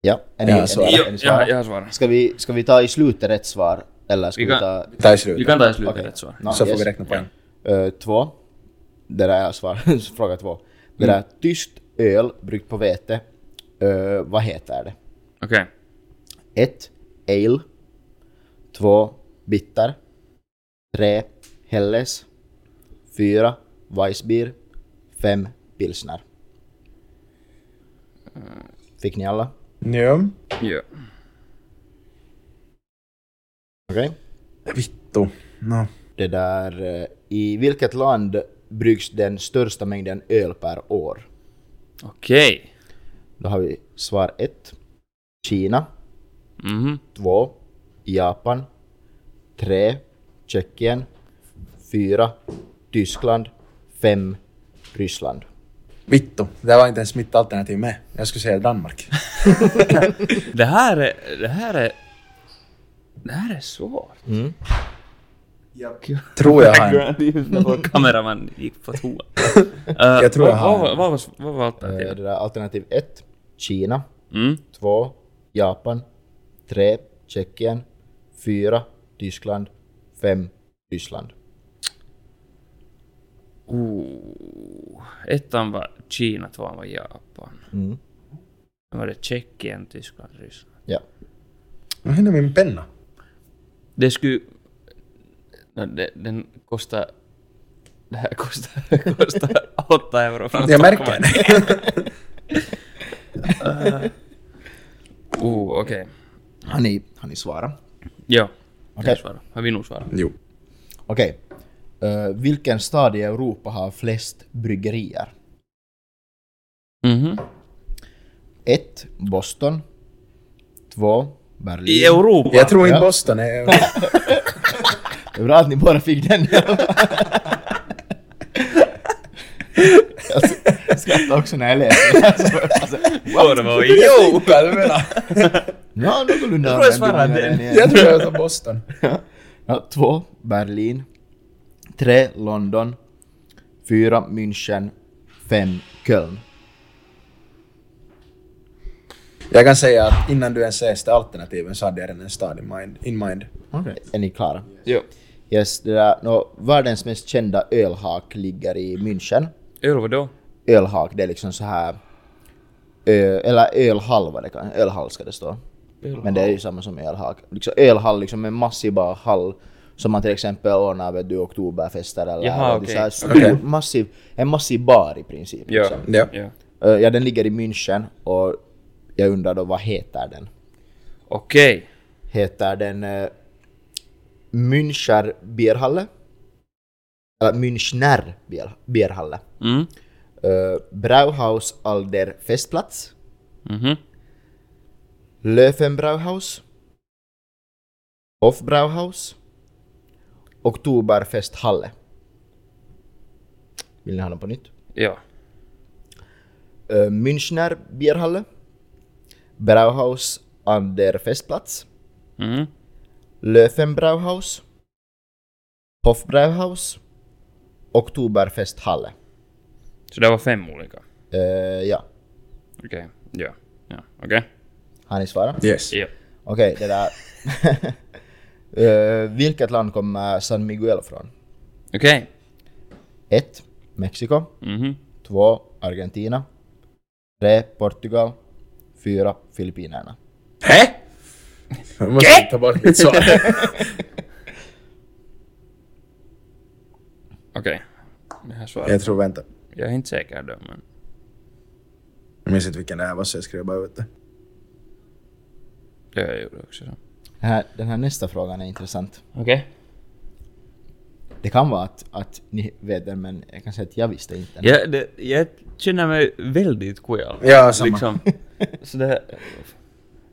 Ja, är ni, Ja, är ni- så är är ni, Jo, är ni Jag, jag svara? har svarat. Ska vi, ska vi ta i slutet rätt svar? Eller ska Vi vi, kan- ta... Vi tar i slutet. Vi kan ta i slutet Okej. rätt svar. No, Så får yes. vi räkna poäng. Eh, två. Det där är svar. *laughs* Fråga två. Det Mm. där tyskt öl bryggt på vete. eh, vad heter det? Okej. 1. Ale 2. Bitter 3. Helles 4. Weissbier 5. Pilsner Fick ni alla? Ja. Ja. Okej. Vittu. No. Det där... eh, I vilket land bryggs den största mängden öl per år? Okej. Då har vi svar 1. Kina Mhm. 2. Japan 3. Tjeckien 4. Tyskland 5. Ryssland Vittu. Det var inte ens mitt alternativ med. Jag skulle säga Danmark. Det här är... Det här är... Det här är svårt. tror jag har *laughs* en. Vår kameraman gick på toa. Eh, Jag tror jag vad- har- Vad vad var vad var Eh, Det alternativet? där alternativ 1, Kina. Mm. 2, Japan. 3, Tjeckien. 4, Tyskland. 5, Ryssland. Oh. Ettan var Kina, tvåan var Japan. Mm. Sen var det Tjeckien, Tyskland, Ryssland. Ja. Vad hände med min penna? Det skulle... No, det, den *laughs* kostar... Det här kostar, kostar 8 euro från Jag märker det. det. Oh, okej. Har ni, har ni svarat? Ja. Okej. Okay. Svara. Har vi nog svarat? *laughs* Jo. Okej. Eh, vilken stad i Europa har flest bryggerier? Mhm. 1, Boston. 2, Berlin. I Europa? Jag tror inte Ja. Boston är... Det är bra att ni bara fick den. Jag skrattar också när jag läser. Alltså, Båda var *laughs* i- jo! Vad du menar? Ja, någorlunda. Jag tror jag svarar *laughs* den. Jag tror jag tar Boston. Ja, två, Berlin. Tre, London. Fyra, München. Fem, Köln. Jag kan säga att innan du ens läste alternativen så hade jag redan en stad in mind. In mind. Okay. Är ni klara? Jo. Yes, det där, nå, världens mest kända ölhak ligger i München. Öl vadå? Ölhak, det är liksom så här... Ö, eller ölhalva, det kan, ölhall ska det stå. Men det är ju samma som ölhak. Liksom, ölhall liksom en massiv bara hall som man till exempel ordnar vet du, oktoberfester eller... Jaha, eller det okej. är så här stor, Okej. massiv, en massiv bar i princip. Ja. liksom. Ja. ja. Eh, Ja, den ligger i München och jag undrar då vad heter den? Okej. Heter den uh, Müncher Bierhalle? Eller Münchner Bier, Bierhalle? Mm. Uh, Brauhaus Alder Festplatz? Mhm. Löfenbrauhaus? Hofbrauhaus? Oktoberfesthalle? Vill ni ha den på nytt? Ja. Eh, Münchner Bierhalle? Brauhaus Alder Festplatz? Mhm. Löfenbrauhaus, Hofbrauhaus, Oktoberfesthalle. Så det var fem olika? Uh, ja, Okej. Ja. Ja. Okej. har ni svarat? Yes. Ja. *laughs* Okej, det där... Eh, vilket land kommer San Miguel från? Okej. 1. Mexiko. Mhm. 2. Argentina. 3. Portugal. 4. Filippinerna. Hä? Jag måste ta bort mitt *laughs* svar. Okej. Det här svaret. jag tror, vänta. Jag är inte säker då, men... Jag minns inte vilken det här var så jag skrev bara ut det. Det jag gjorde också. så. Den här, den här nästa frågan är intressant. Okej. Det kan vara att, att ni vet den, men jag kan säga att jag visste inte. den. Jag, det, jag känner mig väldigt queer. Ja, samma. Liksom. Så det...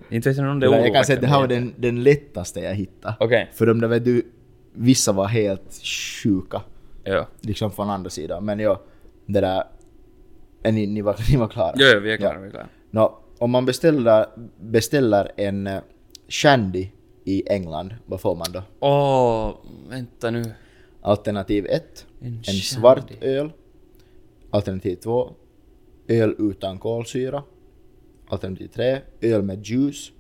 Inte vet jag om det Eller oroar jag kan säga att det här var mig. den, den lättaste jag hittade. Okej. För de där vet du, vissa var helt sjuka. Ja. Liksom från andra sidan. Men ja, det där... Är ni, ni, var, ni var klara? Ja, ja, vi är klara. Vi är klara. Nå, om man beställer, beställer en eh, shandy i England, vad får man då? Åh, vänta nu. Alternativ 1. En En, shandy. svart öl. Alternativ 2. Öl utan kolsyra. Alternativ 3. Öl med juice.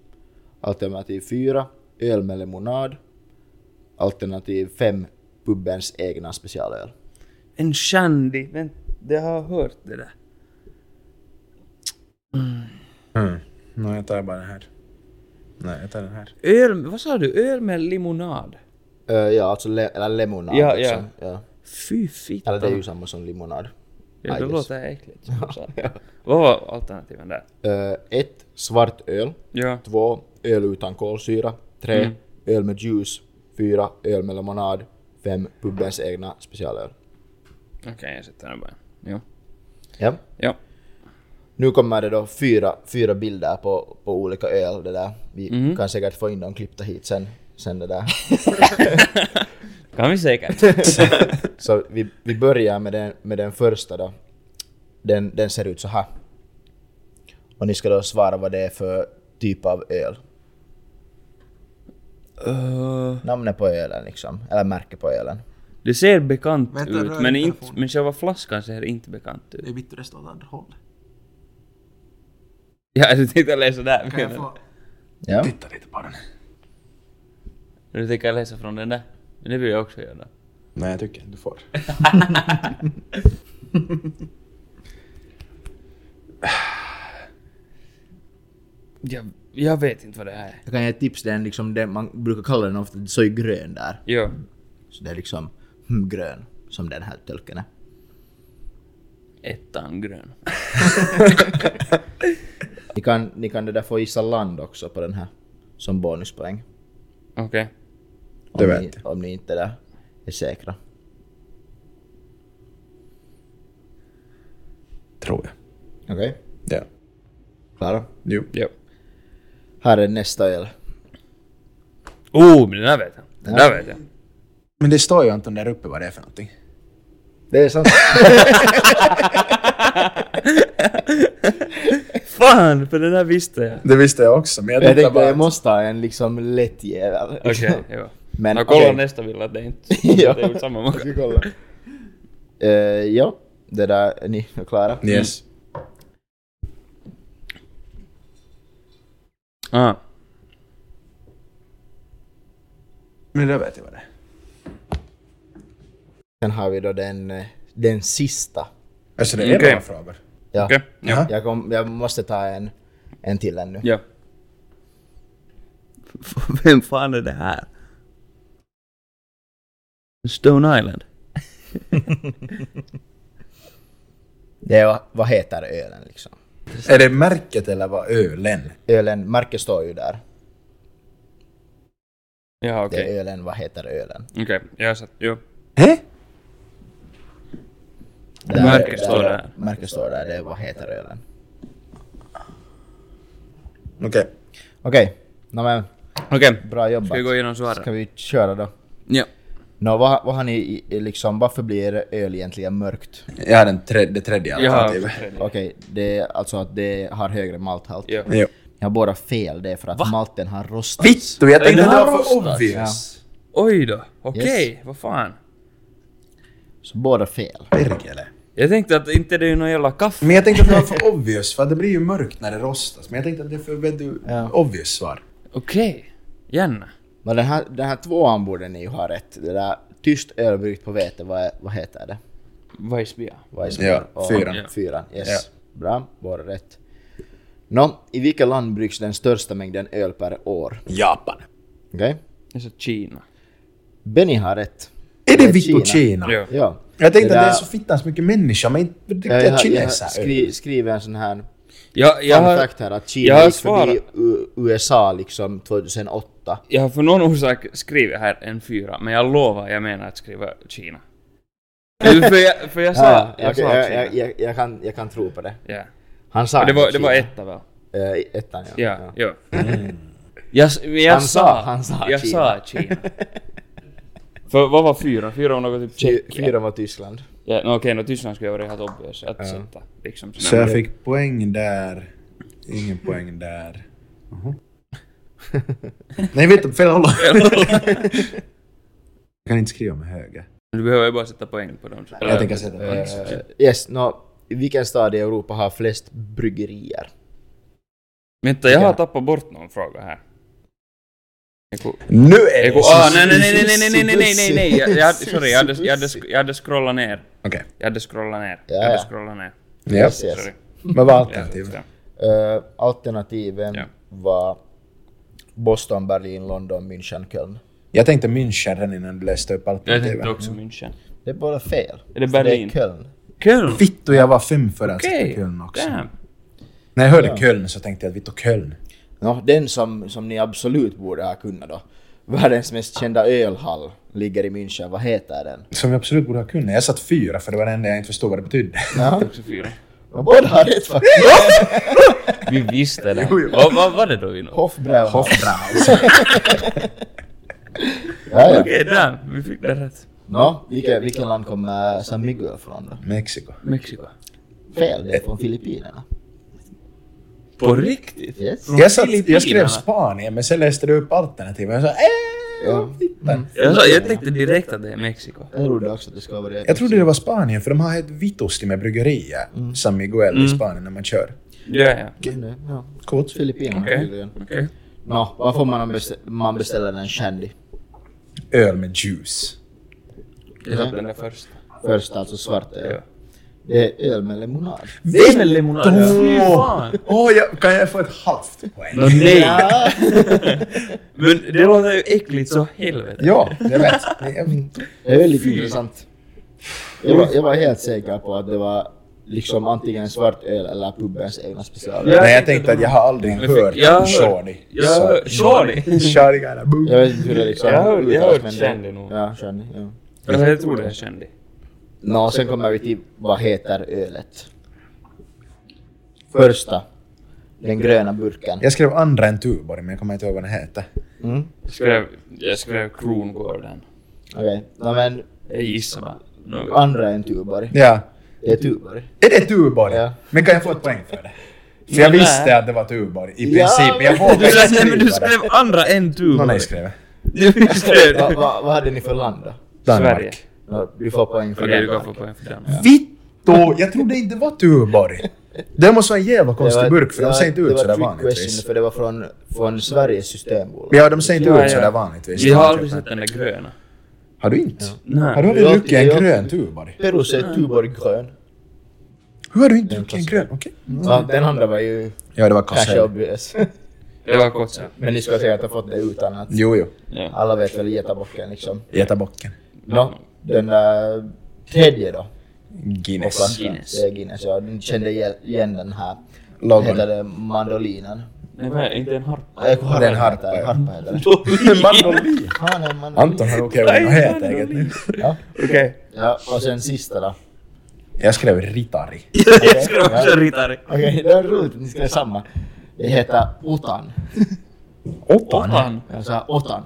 Alternativ 4. Öl med lemonad. Alternativ 5. Pubens egna specialöl. En shandy. Vänta, jag har hört det där. Mm. Nej, jag tar bara den här. Nej, jag tar den här. Öl, vad sa du? Öl med limonad? Eh, ja, alltså le- eller lemonad. Ja, liksom. ja. Fy fitta. Eller det är ju samma som limonad. Ja, I det guess. låter äckligt. som *laughs* sagt. Vad var alternativen där? Eh, ett Svart öl. Ja. 2. Öl utan kolsyra. 3. Öl med juice. 4. Öl med lemonad. 5. Pubens egna specialöl. Okej, jag sätter den bara. Jo. Ja. Ja. Nu kommer det då fyra, fyra bilder på, på olika öl. Det där. Vi kan säkert få in dem klippta hit sen. sen det där. *laughs* Kan vi säkert. *laughs* Så vi, vi börjar med den, med den första då. Den, den ser ut så här. Och ni ska då svara vad det är för typ av öl. Eh, Namnet på ölen liksom, eller märke på ölen. det ser bekant Vänta, rör ut, inte men, inte, telefonen. men själva flaskan ser inte bekant ut. *laughs* Det är vitt och det står åt andra hållet. Ja, du tänkte läsa där? Kan jag menar få... Ja. Titta lite på den. du? Du tänker läsa från den där? Men det vill jag också göra. Nej, jag tycker inte du får. Jag, jag vet inte vad det här är. Jag kan ge ett tips, den liksom, den, man brukar kalla den ofta så är grön där. Jo. Så det är liksom hmm, grön, som den här tölken är. Ettan grön. Ni kan, ni kan det där få gissa land också på den här, som bonuspoäng. Okej. Om, Det vet ni, jag. om ni inte där är säkra. Tror jag. Okej, Ja. klara? Jo. Jo. Här är nästa öl. Oh, men den där vet jag. Den där vet jag. Men det står ju Anton där uppe vad det är för någonting. Det är sant. Fan, för den där visste *laughs* jag. Det visste jag också, men jag *laughs* jag tänkte tänkte bara... jag måste ha en liksom lätt jävel. Okej, jo. Men Nå, kolla okej. nästa bild att det *laughs* inte Ja. det är samma *laughs* Jag mugg. ska kolla. Eh, ja, det där, är ni *laughs* klara? Yes. Ah. Men det vet jag vad det är. Sen har vi då den, eh, den sista. Alltså det är Okej. några frågor. Ja. Okej. Jaha. Jag, kom, jag måste ta en, en till ännu. Ja. *laughs* Vem fan är det här? Stone Island? Det är, vad- vad heter ölen liksom? Är det märket eller vad ölen? Ölen, märket står ju där. Ja, Det okej. är ölen, vad heter ölen? Okej, jag har sett. Jo. Hä? Där- Märket står där. Märket står där, det är vad heter ölen. Okej. Okej, nå men Okej. bra jobbat. Ska vi gå igenom Ska svaren? vi köra då? Ja. Nå, vad, vad har ni i- i liksom, varför blir öl egentligen mörkt? Jag har den tredje, det tredje Jag har alternativet. Okej, det är alltså att det har högre malthalt. Ja. Jo. Jag har båda fel, det är för att malten har rostats. Vittu, jag tänkte Den att det har var för rostats. obvious. Oj då. Okej, vad fan. Så båda fel. Perkele. Jag tänkte att inte det är någon jävla kaffe. Men jag tänkte att det var för obvious, för det blir ju mörkt när det rostas. Men jag tänkte att det är för vet du, obvious svar. Okej. Janne. Men den här, den här tvåan borde ni ju ha rätt. Det där tyst öl bryggt på vete, vad, är- vad heter det? Weissbier. Weissbier Ja, och- fyran. Ja. Fyran, yes. Ja. Bra, bara rätt. Nå, i vilket land bryggs den största mängden öl per år? Japan. Okej? Alltså Kina. Benny har rätt. Är det Vittu Kina? Ja. Ja. Jag tänkte att där- det är så fittans mycket människor, men inte det Jag, är har- jag har kineser. skri, skriver en sån här Jag, jag, fun har, fact här att Kina jag har gick förbi svarat. U- USA liksom 2008. jag har för någon orsak skrivit här en fyra, men jag lovar, jag menar att skriva Kina. för, jag, för jag sa, Ja, jag Ah, okej, sa jag, Kina. jag, jag, jag, kan, jag kan tro på det. Ja. Han sa Och det var, inte det var Kina. etta väl? Eh, ettan Ah, ja. Ja, ja. Jag, s- men jag Han sa, sa- han sa jag Kina. sa Kina. För vad var fyra? Fyra var något typ Fy, Tjeckien. fyra var Tyskland. Ja, no, okej, no, Tyskland skulle jag varit helt obvious att sätta. Liksom, Så jag fick poäng där. Ingen poäng där. *laughs* Nej, vet du, fel håll. *laughs* jag kan inte skriva med höger. Du behöver ju bara sätta poäng på dem. Eh, Jag tänker sätta poäng. poäng. Yes, nå, vilken stad i Europa har flest bryggerier? Vänta, jag har tappat bort någon fråga här. Eiku, Nu är eiku, det... ah, nej, nej, nej, nej, nej, nej, nej, nej, nej, nej, jag, jag, hade- sorry, jag hade, jag, hade, sk- jag hade scrollat ner. Okej. Jag hade scrollat ner. Ja, Jag hade ja. scrollat ner. Ja. Yes. Sorry. Vad var Jag- alternativet? ja. Eh, alternativen Ja. var Boston, Berlin, London, München, Köln. Jag tänkte München redan innan du läste upp Jag tänkte alternativen. också München. Det är bara fel. Är det Så Berlin? Det är Köln. Köln! Vittu, jag var fem före att sätta Okej! Köln också. Damn. När jag hörde Köln så tänkte jag att Vittu Köln. Nå, den som, som ni absolut borde ha kunnat då. Världens mest kända ölhall ligger i München. Vad heter den? Som jag absolut borde ha kunnat. Jag satt fyra för det var det enda jag inte förstod vad det betydde. Ja. Också fyra. Båda har rätt faktiskt. Vi visste det. Vad vad var det då vi nådde? Hofbrauhaus. Hofbrauhaus. *laughs* Ja, ja. Okej, där. Vi fick det rätt. Nå, vilken, vilken land kommer San Miguel från då? *laughs* Mexiko. Mexiko. Fel, det är från Filippinerna. På riktigt? Yes. Jag, satt, Filippinerna. jag skrev Spanien men sen läste du upp alternativen och jag sa eh, Ja. fittan. Jag, sa, jag tänkte direkt att det är Mexiko. Jag trodde också att det skulle vara det. Jag trodde det var Spanien för de har ett vitosti med bryggerier, Mm. San Miguel i Spanien när man kör. Ja, ja. det ja. Coolt. Filippinerna Okej. tydligen. Okej. Nå, vad får man om bestä- man beställer en shandy? Öl med juice. Jag satte den där först. Först alltså svart öl. Ja. Det är öl med lemonad. Det är väl limonad? Fy fan! Åh, jag, kan jag få ett halvt poäng? Nå, nej! *laughs* Ja. Men det låter ju äckligt så helvete. Ja, jag vet. Nej, jag vet. Det är väldigt intressant. Jag var, jag var helt säker på att det var liksom antingen svart öl eller pubens egna specialöl. Ja. Nej, jag tänkte att jag har aldrig Men för- hört jag hör- Shorty. Jag hör... Shorty! Shorty got a boom. Jag vet inte hur det liksom Jag hör- jag uttalas, hör men det- shandy nog. Ja, shandy. Ja. Alltså, jag tror det är kändi. Nå, sen kommer vi till vad heter ölet? Första. Den gröna burken. Jag skrev andra än Tuborg men jag kommer inte ihåg vad den heter. Mm. Jag skrev, jag skrev Krongården. Okej. Nå men Jag gissar bara. Mm. Något. andra än Tuborg. Ja. Det är Tuborg. Är det Tuborg? Ja. Men kan jag få ett poäng för det? För jag Nej. visste att det var Tuborg i Ja, princip, men jag men- vågade Du inte skrev, nej, men skriva *laughs* det. du skrev andra än du. Någon har ju skrivit. Du skrev *laughs* Va, va, vad hade ni för land då? Sverige. Danmark. Nå, Du får poäng för Okej, du det. kan få poäng för den. Vittu! Jag trodde inte det var Tuborg. Det måste vara en jävla konstig burk för det de var- ser inte det ut var sådär trick question, vanligtvis. För det var från, från Sveriges systembolag. Ja, de ser inte Ja, ja. ut sådär vanligtvis. Vi har aldrig sett den där gröna. Har du inte? Har du Nej. Det är aldrig druckit en alltid- grön Tuborg? Perus är Tuborg grön. Hur har du inte druckit en grön? Okej. Ja, den andra var ju Ja, det var kanske Kassel. obvious. *laughs* Det var Kotsa. Men ni ska säkert ha fått det utan att... Jo, jo. Ja. Alla vet väl getabocken liksom. Getabocken. Nå, den där tredje då. Guinness. Guinness. Det är Guinness, ja. Den kände igen- igen den här. Logon. Heter det mandolinen? Nej, vad är- inte en harpa. Äh, harpa Det är en heter harpa, det, ja. Harpa heter det. Mandolin. Fan, en mandolin. Anton har råkat vara något helt eget nu. Ja. Okej. ja, och sen sista då. Jag skrev Ritari. *laughs* Jag skrev också ritare. Okej, det var roligt att ni skrev samma. Det heter Otan. Ottan? Jag sa Otan.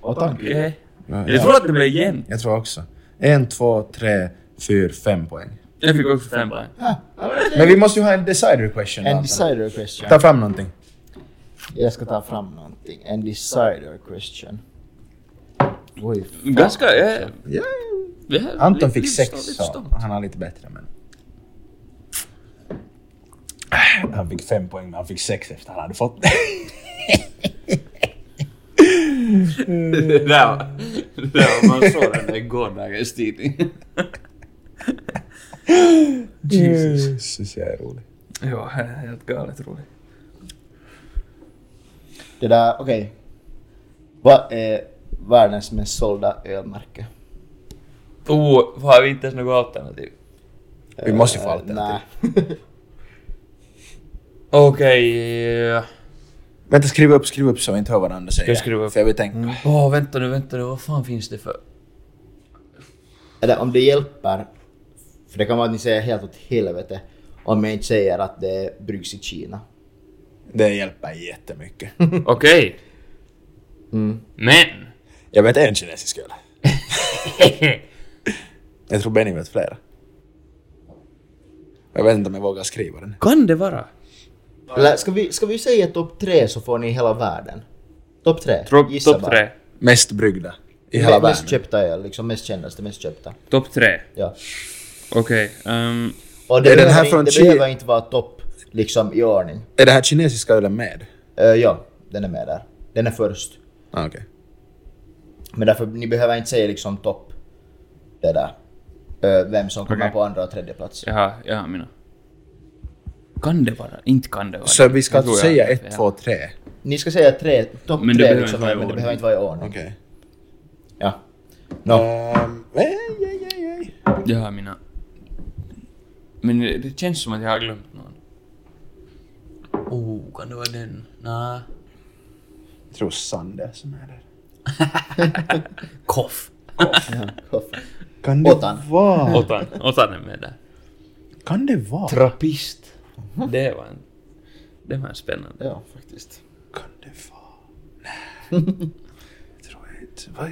Otan. Okej. Ja, Jag ja. tror att det blev jämnt. Jag tror också. En, två, tre, fyra, fem poäng. Jag fick också fem poäng. Men vi måste ju ha en decider question. En Anton. decider question. Ta fram någonting. Jag ska ta fram någonting. En decider question. Oj, fan. Ganska... Jag, jag, Anton li- fick lite sex stå- lite så stå. han har lite bättre men... Han fick fem poäng men han fick sex efter han hade fått det. *laughs* Det där var... Det där var man såg den där i gårdagens tidning. *laughs* Jesus, jag är rolig. *laughs* Ja, helt galet roligt. Det där, okej. Vad är världens mest sålda ölmärke? Oh, har vi inte ens något alternativ? Vi måste ju få Eh, alternativ. Nej. Okej... eh, Vänta, skriv upp, skriv upp så vi inte hör varandra säga. Jag skriver upp. För jag vill tänka. Åh, vänta nu, vänta nu. Vad fan finns det för... Eller om det hjälper, för det kan vara att ni säger helt åt helvete, om jag inte säger att det bryggs i Kina. Det hjälper jättemycket. Okej. Mm. Men! Jag vet en kinesisk öl. Jag tror Benny vet flera. Jag vet inte om jag vågar skriva den. kan det vara? Eller ska vi, ska vi säga topp tre så får ni hela världen? Topp tre? Topp Gissa top bara. tre. Mest bryggda i Me- hela världen. Mest köpta öl, liksom mest kändaste, mest köpta. Topp tre. Ja. Okej. ehm, Och det, Är den behöver, här inte- från det Chi- behöver inte vara topp liksom i ordning. Är det här kinesiska ölen med? Eh, ja, den är med där. Den är först. Ah, Okej. Men därför, ni behöver inte säga liksom topp det där. Eh, vem som kommer Okej. på andra och tredje plats. jaha, jaha mina. Kan det vara? Inte kan det vara. Så vi ska Jag tror alltså jag- säga ja. ett, två, tre? Ni ska säga tre, topp Men det tre behöver liksom, inte vara i men det ordning. behöver inte vara i ordning. Okej. Ja. No. Ehm, ej, ej, ej, ej. Jaha mina. Men det, det känns som att jag har glömt någon. Oh, kan det vara den? Nä. Jag tror Sander som är där. Koff. Kan det Åtan. vara... Otan. Otan är med där. Kan det vara? Trappist. Det var en... Det var en spännande. Ja, faktiskt. Kan det vara? *laughs* Nej. Jag tror jag inte. Vad?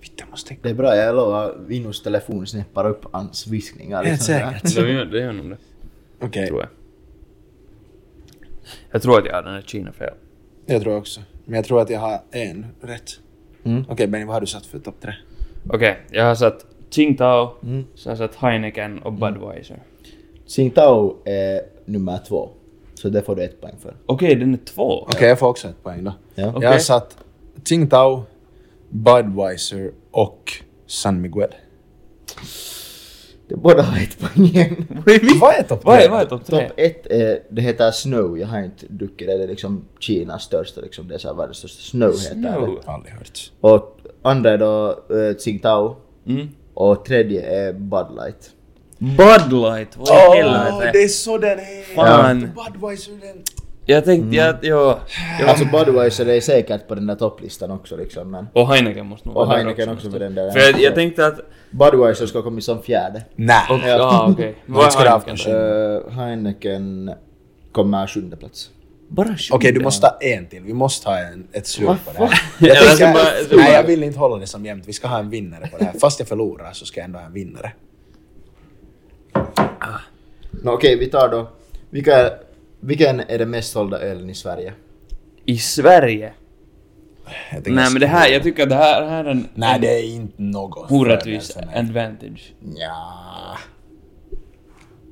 Vitt, jag måste tänka. Det är bra, jag lovar. Vinos telefon snäppar upp hans viskningar. Helt liksom. säkert. De gör, de gör nog det. Okej. Tror jag. Jag tror att jag hade den här Kina fel. Jag tror också. Men jag tror att jag har en rätt. Mm. Okej Benny, vad har du satt för topp tre? Okej, jag har satt Qingtao, Mm. så jag har satt Heineken och Budweiser. Tsingtao är nummer två. Så det får du ett poäng för. Okej, den är två. Okej, jag får också ett poäng då. Ja. Jag har Okej. satt Tsingtao, Budweiser och San Miguel. Det borde ha ett poäng igen. Vad är topp Vad tre? är, vad är topp tre? Topp ett är, det heter Snow. Jag har inte druckit det. Det är liksom Kinas största, liksom, det är så här världens största. Snow heter Snow. det. Aldrig hört. Och andra är då eh, Tsingtao. Mm. Och tredje är Bud Light. Bud Light, vad i helvete? är så den är! Fan. Mm. Budweiser den... Jag tänkte, jag, ja, ja. Alltså Budweiser är säkert på den där topplistan också liksom men... Och Heineken måste nog Och där Heineken också på den där. För jag, jag tänkte att... Budweiser ska komma som fjärde. Nä! Och, ja, okej. Vad Inte ska det är ha Heineken? haft då? Eh, Heineken kommer sjunde plats. Bara Okej, du måste ha en till. Vi måste ha en, ett slut på det här. Jag Jag ska tänker, bara- jag ska nej, bara- jag vill inte hålla det som jämnt. Vi ska ha en vinnare på det här. Fast jag förlorar så ska jag ändå ha en vinnare. Nå, okej, vi tar då. Vilka, vilken är den mest sålda ölen i Sverige? I Sverige? Jag tänker Nej men det här, jag tycker att det här, här är en... Nej, en det är inte något Orättvis fördel för mig. advantage. Ja.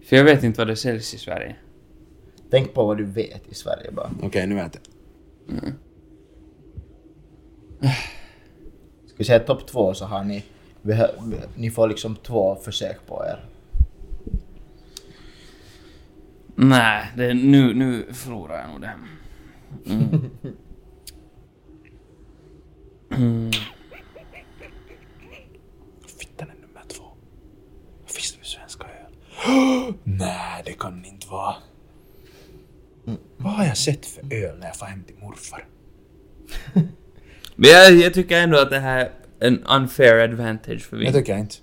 För jag vet inte vad det säljs i Sverige. Tänk på vad du vet i Sverige bara. Okej, nu vet jag. Ska vi säga topp två så har ni... vi har- vi- Ni får liksom två försök på er. Nej, det, nu, nu förlorar jag nog det. Mm. Fittan är nummer två. Vad finns det för svenska öl? *gasps* Nej, det kan inte vara. Mm. Vad har jag sett för öl när jag får hem till morfar? Men jag, jag tycker ändå att det här är en unfair advantage för Det vi. tycker jag inte.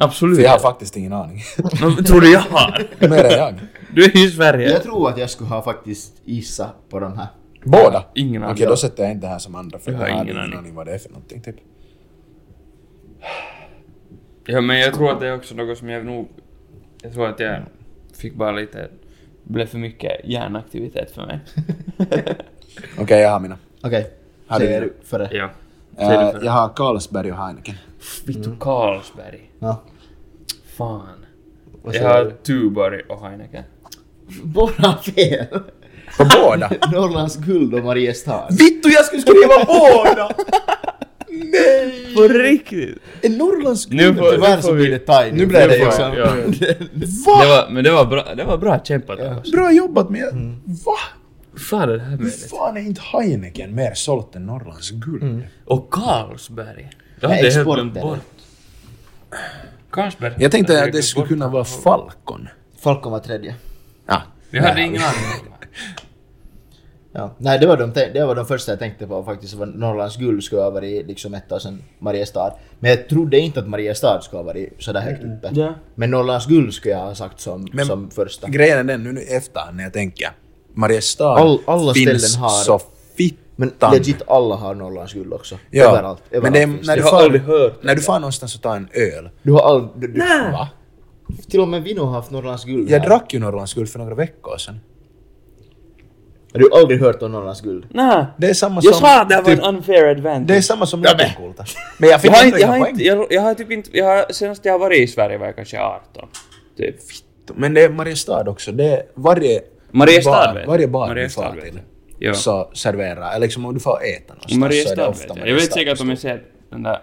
Absolut. För jag har faktiskt ingen aning. *laughs* Men tror du jag *laughs* har? Mer än jag. Du är ju i Sverige. Jag tror att jag skulle ha faktiskt gissa *laughs* på de här. Båda? Ingen aning. Okej, då sätter jag inte det här som andra för jag Jag har har ingen ingen aning. aning. vad det är för någonting typ. Ja, men jag tror att det är också något som jag nog... Jag tror att jag fick bara lite... Blev för mycket hjärnaktivitet för mig. Okej, jag har mina. Okej. Har du Säger det? du före? ja. Säg Eh, du för jag har Carlsberg och Heineken. Vittu Carlsberg. Ja. Fan. Vad Jag säger har du? Tuborg och Heineken. Båda fel! *laughs* På båda? Norrlands guld och Mariestad. *laughs* Vittu, jag skulle skriva båda! Nej! På riktigt! *laughs* En norrländsk Nu får- gubbe? Tyvärr så blir det liksom. tiny. Nu blir det får- liksom- ja. *laughs* Va? Det var, men det var bra, det var bra kämpat av oss. Bra jobbat med... Va? Fan det här med Hur fan är inte Heineken mer sålt än Norrlands guld? Och Carlsberg. Jag hade Nej, helt exporten. glömt bort. Carlsberg. Jag tänkte hade att det glömt skulle bort. kunna vara Falcon. Falcon var tredje. Ja. Vi hade där ingen aning. Ja. Nej, det var, de, det var de första jag tänkte på faktiskt. var Norrlands guld skulle ha varit liksom ett och sen Mariestad. Men jag trodde inte att Mariestad skulle ha varit sådär högt uppe. Ja. Men Norrlands guld skulle jag ha sagt som, Men- som första. Grejen är den nu, nu i efterhand när jag tänker. Mariestad All- alla finns ställen har- så fittan. Men legit alla har Norrlands guld också. Ja. Överallt. överallt Men det är, finns när, du Jag har aldrig far, hört när du far någonstans och tar en öl. Du har aldrig... Du, du, Nej. Va? Till och med Vino har haft Norrlands guld Jag här. drack ju Norrlands guld för några veckor sedan. Har du aldrig hört om Norrlands guld? Nej. Det är samma Jag som... sa att det här var typ, en unfair advantage. Det är samma som *laughs* Lövenkulta. Men jag fick Jag har, ändå inte, jag, inga har poäng. inte, jag, jag har typ inte... Jag har, senast jag har varit i Sverige var jag kanske 18. Typ. Men det är Mariestad också. Det är varje Mariestad bar, vet varje jag. bar Mariestad du far vet till jag. Ja. så serverar, eller liksom om du får äta någonstans så är det Mariestad ofta vet jag. Jag vet Mariestad. säkert om jag ser den där...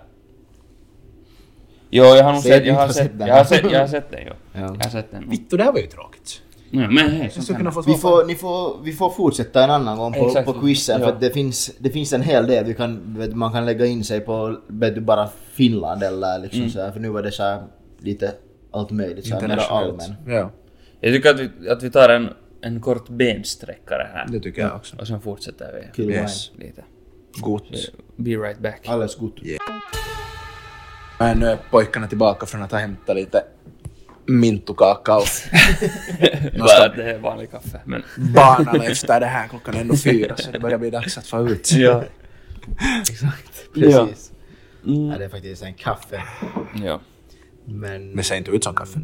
Jo, jag har nog Säg att sett... du Jag inte har har sett sett Jag har sett, den. jag har sett den, jo. Ja. Jag har sett den. Vittu, det här var ju tråkigt. Ja, men hej, Jag så skulle kan kunna det. få Vi svar på får, ni får, vi får fortsätta en annan gång på, Exakt. på quizen Ja. för att det finns, det finns en hel del. Vi kan, vet, man kan lägga in sig på vet du, bara Finland eller liksom så här, för nu var det så här lite allt möjligt. Så här, mera internationellt. allmän. Ja, Jag tycker att vi, att vi tar en, en kort bensträckare här. det tycker jag också. Och sen fortsätter vi Kul Yes. lite. Gott. Be right back. wine. Alldeles gott. Men nu är pojkarna tillbaka från att ha hämtat lite mintukakao. *laughs* *laughs* Bara att det är vanlig kaffe. Men... Barnarna efter det här, klockan är ändå fyra så det börjar bli dags att få ut. Ja. Exakt. Ja. Precis. Mm. Ja, det är faktiskt en kaffe. ja. Men... Det ser inte ut som kaffe.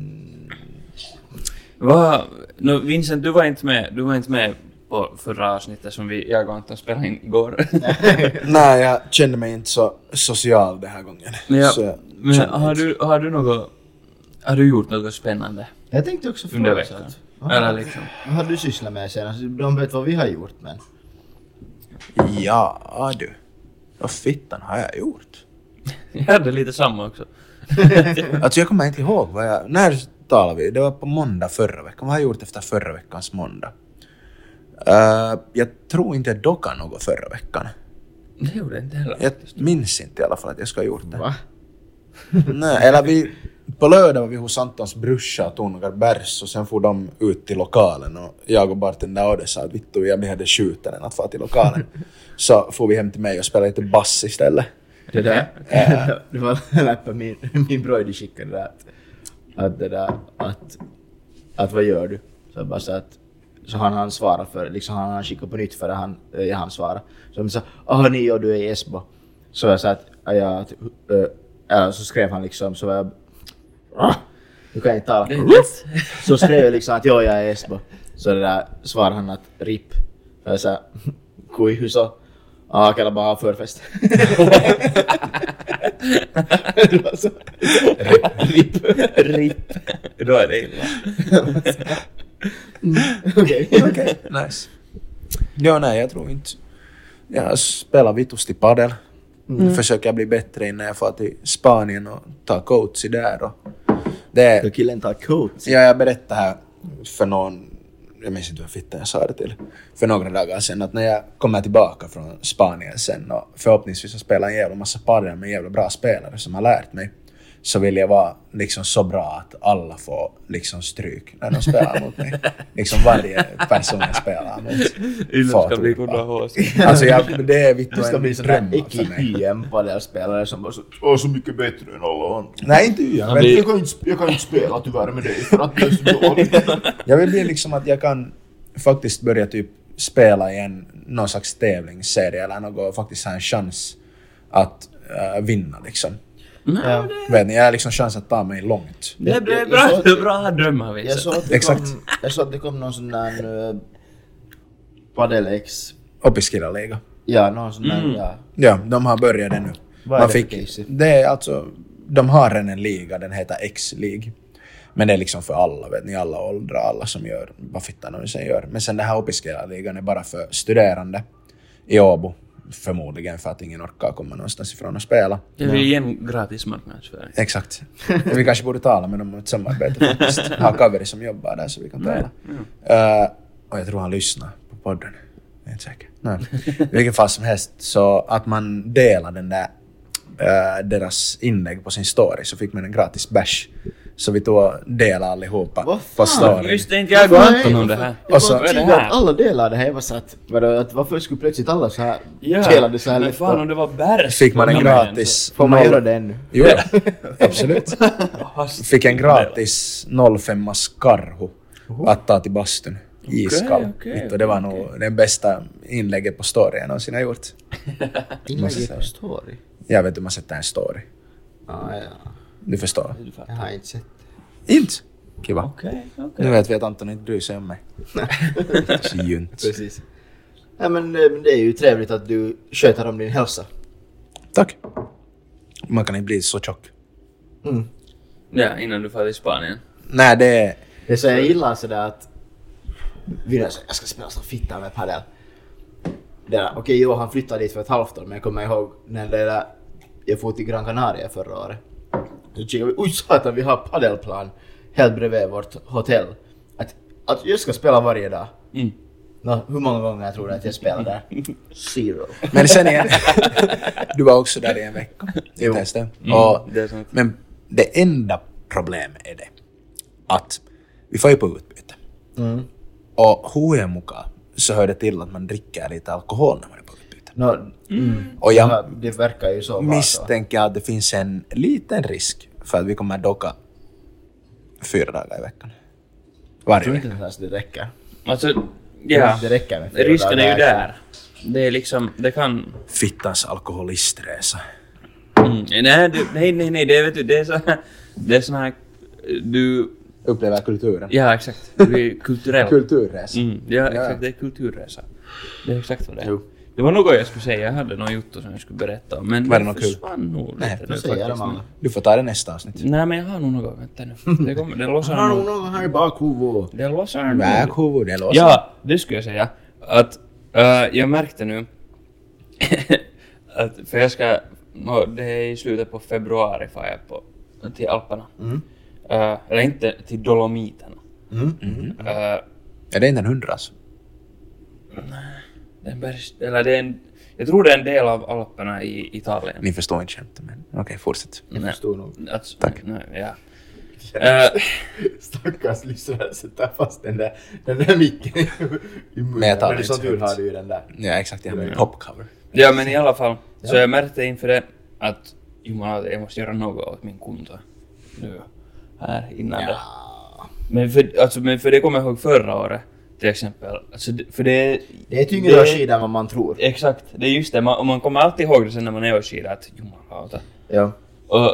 Va? No, Vincent, du var inte med, du var inte med på förra avsnittet som vi, jag och Anton spelade in igår. Nej, jag kände mig inte så social den här gången. *laughs* men jag, Så jag men kände har, inte- du, har du något... Har du gjort något spännande Jag tänkte också under fråga så veckan? att, Eller liksom... vad har du sysslat med senast? De vet vad vi har gjort men. Ja du. Vad fittan har jag gjort? Jag hade lite samma också. Alltså jag kommer inte ihåg vad jag... När talade vi? Det var på måndag förra veckan. Vad har jag gjort efter förra veckans måndag? Eh, jag tror inte jag dockade något förra veckan. Det gjorde jag inte Jag heller. minns inte i alla fall att jag ska ha gjort det. Va? Nej, eller vi... På lördag var vi hos Antons brorsa och tog några bärs och sen for de ut till lokalen och jag och bartendern Ode sa att vittu, jag blir hade skjuten än att fara till *laughs* lokalen. Så for vi hem till mig och spelade lite bass istället. Det där. det var *laughs* läppen min, min broider skickade det att, att det där att, att vad gör du? Så jag bara så att så han han svarar för liksom han han skickar på nytt för han ja, han svarar. Så han sa ah ni och du är i Esbo. Så jag sa att ja, jag att, eh, eller så skrev han liksom så var jag ah, nu kan jag inte tala. *laughs* Så skrev jag liksom att ja jag är i Esbo. Så det där svarade han att RIP. Så jag sa kui hur så? Ah, kallar bara ha förfest. *laughs* Det var så. Ripp. Ripp. Då är det illa. Okej. Okej, nice. Ja, nej, jag tror inte... Jag spelar vittust i padel. Försöker bli bättre innan jag får till Spanien och tar coachi där. Och det Då är, killen tar coach. ja, jag berättade här för någon... Jag minns inte vem fittan jag sa det till. För några dagar sedan att när jag kommer tillbaka från Spanien sen och förhoppningsvis har spelat en jävla massa padel med jävla bra spelare som har lärt mig. Så vill jag vara liksom så bra att alla får liksom stryk när de spelar mot mig. Liksom varje person jag spelar mot. Ylva ska Fator. bli goda hås. Alltså jag, det är Du vittu ska en bli sån där dröm för mig. äcklig YM-padelspelare som bara så "Jag är så mycket bättre än alla andra. Nej, inte jag. Han Jag vill- blir- Jag kan, inte, jag kan inte spela tyvärr med dig för att du är så dålig. Jag vill bli liksom att jag kan faktiskt börja typ spela i en någon slags tävlingsserie eller något och faktiskt ha en chans att äh, vinna liksom. Ja. Vet ni, jag har liksom chans att ta mig långt. Det är Jag- bra, jag- jag sa- bra, bra drömmar Jag Vincent. såg att det Exakt. kom, jag såg att det kom någon sån där uh, padel-ex. Upp i skidaliga. Ja, någon sån där. Ja. Ja, de har börjat det nu. Vad är Man det fick, för case? det är alltså, de har redan en liga, den heter X-League. Men det är liksom för alla, vet ni, alla åldrar, alla som gör vad fittan de sen gör. Men sen den här Opiskela-ligan är bara för studerande i Åbo. Förmodligen för att ingen orkar komma någonstans ifrån och spela. Det är ju igen gratis marknadsföring. Exakt. vi kanske borde tala med dem om ett samarbete *laughs* faktiskt. Ha Kaveri som jobbar där så vi kan tala. Eh, och jag tror han lyssnar på podden. Jag är inte säker. Nej. I vilken fall som helst, så att man delar den där, eh, deras inlägg på sin story så fick man en gratis bash. Så vi tog och delade allihopa Vad på fan? storyn. Just det, inte jag och Anton om det här. Jag Och så- bara Vad är det trodde här? att alla delar det här. Jag var så att, vadå, att varför skulle plötsligt alla så här Ja, delade så här men lätt fan och- om det var bärs. Fick man en på namnen, gratis... Får man noll- göra det ännu? Jo, ja. *laughs* absolut. så- Fast- Fick en gratis 05 karhu att ta till bastun. Iskall. Okej, okej, Inte, det var nog det bästa inlägget på story jag någonsin har gjort. Måste Inlägget säga. på story? Jag vet inte hur man sätter en story. Ah, ja. Du förstår. Du fattar. Jag har inte sett. Inte? Kiva. Okej, okej. Nu vet vi att Anton inte bryr sig om *laughs* mig. Så Junt. Precis. Ja, men eh, men det är ju trevligt att du sköter om din hälsa. Tack. Man kan inte bli så tjock. Mm. Ja, innan du far till Spanien. Nej, det är... Det är så jag gillar sådär att... Vill jag, säga, jag ska spela som fitta med padel. Det där, Okej, jo han flyttade dit för ett halvt år men jag kommer ihåg när det där, jag for till Gran Canaria förra året. Så kikade vi, oj satan vi har padelplan helt bredvid vårt hotell. Att, att jag ska spela varje dag. Mm. Nå, hur många gånger jag tror du att jag spelar där? Zero. Men sen igen, *laughs* du var också där i en vecka. Inte ens det. Och, det är sant. men det enda problemet är det att vi får ju på utbyte. Mm. Och hur mukaan så hör det till att man dricker lite alkohol när man är på utbyte. Nå, mm. Och ja, jag det verkar ju så. vara så. misstänker att det finns en liten risk för att vi kommer att docka fyra dagar i veckan. Jag Varje tror vecka. inte ens det räcker. Alltså, Ja. ja. Det räcker med fyra Risken är ju dagar. där. Det är liksom, det kan... Fittans alkoholistresa. Mm. Nej, du, nej, nej, nej, det vet du, det *laughs* är så här... Det är sån här... Du... Uppleva kulturen. Ja, exakt. Du är kulturell. Kulturresa. Mm, ja, Ja. exakt. Det är kulturresa. Det är exakt vad det är. Jo. Det var något jag skulle säga. Jag hade något gjort som jag skulle berätta om. Men Var det något kul? försvann nog Nej, lite Vad nu säger de faktiskt. alla? Du får ta det nästa avsnitt. Nej, men jag har nog något. Vänta nu. Det, kommer, det lossar Har hon nog. någon här i bakhuvudet? Det lossar nog. Väghuvud, det låter Ja, det skulle jag säga. Att eh, jag märkte nu *laughs* att för jag ska, nå, det är i slutet på februari far jag på, till Alperna. Eh, eller inte till Dolomiterna. Eh, Ja, det är inte en hundras. det är en bergs, eller det är en, jag tror det är en del av Alperna i Italien. Ni förstår inte skämtet, men okej, fortsätt. Jag förstår nog. Alltså, Tack. Nej, ja. Eh, *laughs* Stackars lyssnare sätter fast den där, den där micken i munnen. Men jag tar Men det som inte tur högt. har du ju den där. Ja, exakt. Jag har en popcover. ja, men i alla fall. Så Ja. jag märkte inför det att jumala, jag måste göra något åt min konto nu. Här innan det. Men för, alltså, men för det kommer jag ihåg förra året till exempel. Alltså, det- för det, Eh. Det är tyngre att skida än vad man tror. Exakt, det är just det. Man, och man kommer alltid ihåg det sen när man är och skidar att jumalauta. Ja. Och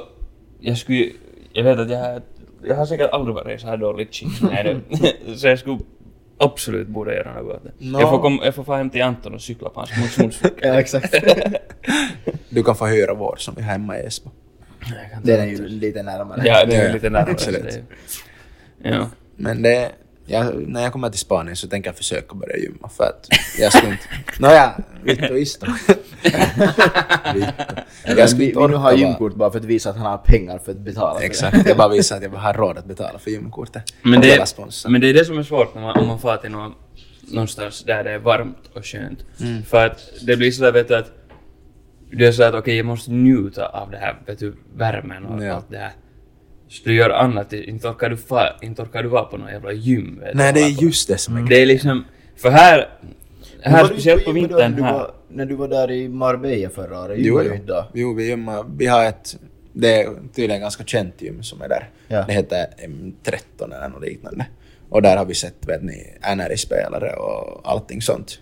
jag skulle Jag vet att jag har... Jag har säkert aldrig varit i så här dåligt *laughs* skick. Nej, det- så jag skulle absolut borde göra något åt det. Nå. Jag får, kom, jag får få hem till Anton och cykla på hans *laughs* motionscykel. Ja, exakt. Du kan få hyra vår som vi har hemma i Esbo. Jag kan inte- den är ju lite närmare. Ja, det är Ja, lite närmare. så absolut. det är- Ja. Men det... Jag, när jag kommer till Spanien så tänker jag försöka börja gymma för att jag skulle *laughs* inte... Nåja, vittu isto. Vittu. Jag vi, vi nu vara- har gymkort bara för att visa att han har pengar för att betala för det. Exakt, jag bara visar att jag har råd att betala för gymkortet. Men Hela det, sponsorn. men det är det som är svårt när man, om man far till någon, någonstans där det är varmt och skönt. Mm. För att det blir sådär vet du att... Det är så att okej, jag måste njuta av det här, vet du, värmen och Ja. allt det här. Så du gör annat, inte orkar du, fa, inte orkar du vara på någon jävla gym. Vet du, Nej, det är hålla på. just det som Mm. är Det är liksom... För här... Men var Här, du speciellt inte på gymmet då vintern när du här. var- När du var där i Marbella förra året, Jo, gymmade du jo. inte då? jo vi, gymmar, vi har ett, det är tydligen ganska känt gym som är där. Ja. Det heter M13 eller något liknande. Och där har vi sett vet ni, NRI-spelare och allting sånt.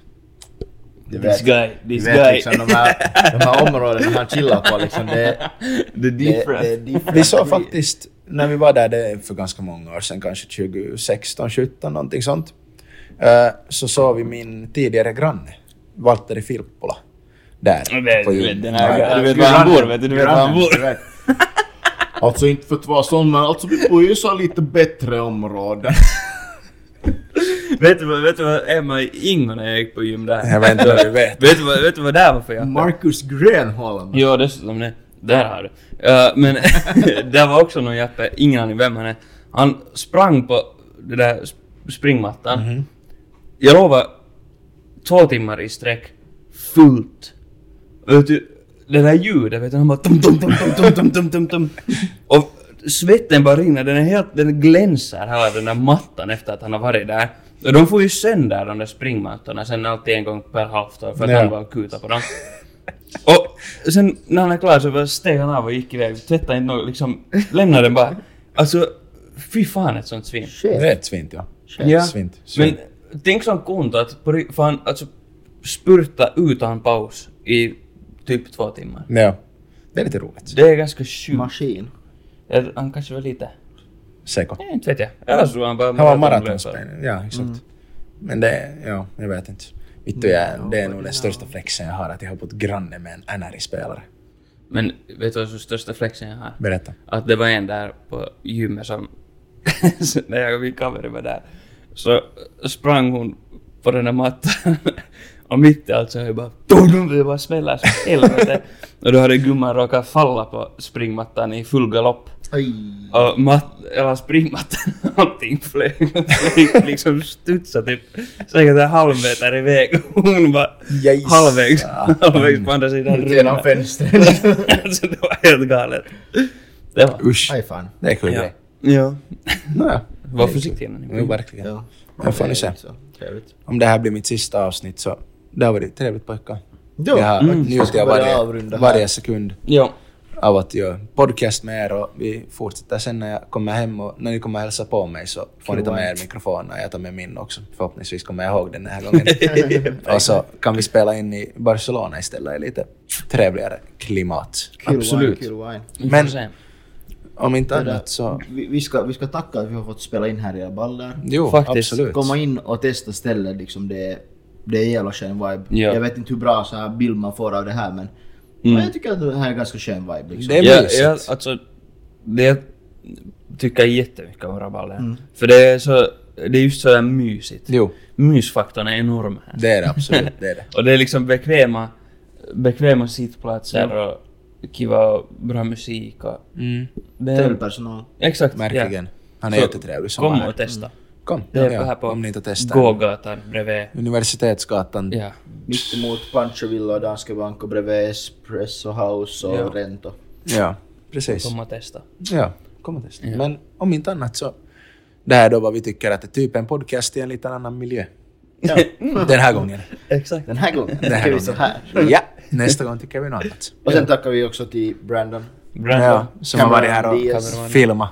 Du This guy, du this vet guy. liksom de här, de här områdena han chillar på liksom. Det, The det, det är difference. different. Vi såg faktiskt, när vi var där, det är för ganska många år sedan, kanske 2016, 17 någonting sånt. eh, Så såg vi min tidigare granne, Valtteri Filppula, där. Ja, det- på du gym. vet, den här- Ja, Du vet var han bor, vet du, du vet var han bor. Grannen, du vet. Alltså inte för att vara sån men alltså vi bor ju i så lite bättre områden. vet, du, vad- vet du vad Emma Ingo när jag gick på gym där? Jag vet inte vad du vet. *laughs* vet, du, vad- vet du vad där var för jacka? Marcus Grönholm. Ja, dessutom det. Där har du. Eh, men *laughs* där var också någon Jeppe, ingen aning vem han är. Han sprang på den där sp- springmattan. Jag lovar, två timmar i sträck, fullt. Vet du, det där ljudet, vet du, han bara tum, tum, tum, tum, tum, tum, tum, tum, tum. Och svetten bara rinner, den är helt, den glänser hela den där mattan efter att han har varit där. Och de får ju sönder de där springmattorna sen alltid en gång per halvt år för att Ja. han bara kutar på dem. Och sen när han är klar så bara steg han av och gick iväg. Tvättade inte något, liksom lämnade den bara. Alltså, fy fan ett sånt svin. Shit. Det är ett svint, ja. Ja. Svint. Men svint. tänk sån konto att på, ri- fan, alltså, spurta utan paus i typ två timmar. Ja. Det är lite roligt. Det är ganska sjukt. Maskin. Eller Han kanske var lite... Säkert. Nej, inte vet jag. Eller så var han bara... Han var maratonlöpare. maratonspelare. Ja, exakt. Mm. Men det, ja, jag vet inte. Vittu, Mm. jag, det är nog den största flexen jag har, att jag har bott granne med en NRI-spelare. Men vet du vad som är största flexen jag har? Berätta. Att det var en där på gymmet som... *laughs* så när jag och min kamrer var där så sprang hon på den där mattan. *laughs* och mitt i allt så hör jag bara... Det bara smäller som *laughs* helvete. och då hade gumman råkat falla på springmattan i full galopp. Aj. Och matt, eller *laughs* springmattan, allting flög, flög liksom studsade typ säkert en halv meter iväg. Hon var Jajsa. halvvägs, halvvägs på andra sidan Genom rummet. fönstret. *laughs* alltså det var helt galet. Det var... Usch. Aj fan. Det är kul Ja. grej. ja. Nåja. Var försiktig innan ni Jo, börjar. verkligen. Mm. Ja. Men får ni se. Så, Trevligt. Om det här blir mitt sista avsnitt så det har varit trevligt pojkar. Ja. Jag har Mm. njutit Ska av börja varje, avrunda här. varje sekund Ja. av att göra podcast med er och vi fortsätter sen när jag kommer hem och när ni kommer hälsa på mig så får ni ta med er mikrofon och jag tar med min också. Förhoppningsvis kommer jag ihåg den här gången. *laughs* och så kan vi spela in i Barcelona istället i lite trevligare klimat. Kul Absolut. wine, kul wine. vi får Men- se. Om inte Det där. annat så... Vi, vi, ska, vi ska tacka att vi har fått spela in här i era ballar. Jo, Faktiskt. absolut. Komma in och testa stället liksom, det är, det är jävla skön vibe. Ja. Jag vet inte hur bra så här bild man får av det här men, men jag tycker att det här är ganska skön vibe liksom. Det är jag, mysigt. jag, alltså, det jag tycker jättemycket om rabalder. För det är så... Det är just sådär mysigt. Mm. Jo, Mysfaktorn är enorm här. det är det absolut. Det *laughs* är det. Och det är liksom bekväma, bekväma sittplatser och kiva och bra musik och... Mm, Det är- Trevlig personal. Exakt. verkligen. Han är Så jättetrevlig som han Kom är. och testa. Kom, Det är ja, här på om ni inte testar. Mm. gågatan bredvid. Universitetsgatan. Ja. Mittemot Pancho Villa och Danske Bank och bredvid Espresso House och Ja. Rento. Ja, precis. Kom och testa. Ja, kom och testa. Men om inte annat så, det här är då vad vi tycker att det är typ en podcast i en liten annan miljö. Den här *laughs* gången. Exakt. Den här gången *laughs* Den här är Mm. vi så gången. här. Ja, nästa gång tycker vi något annat. Och sen tackar vi också till Brandon. Ja, Bra. som har varit här Cameron och Diaz. filmat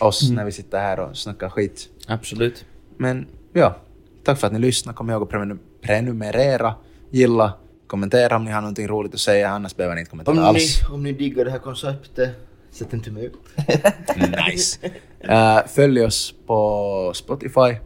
oss Mm. när vi sitter här och snackar skit. Absolut. Men ja, tack för att ni lyssnade. Kom ihåg att prenum- prenumerera, gilla, kommentera om ni har någonting roligt att säga. Annars behöver ni inte Om kommentera ni, alls. om ni diggar det här konceptet, sätt en *laughs* tumme upp. Mm. Nice. Eh, följ oss på Spotify.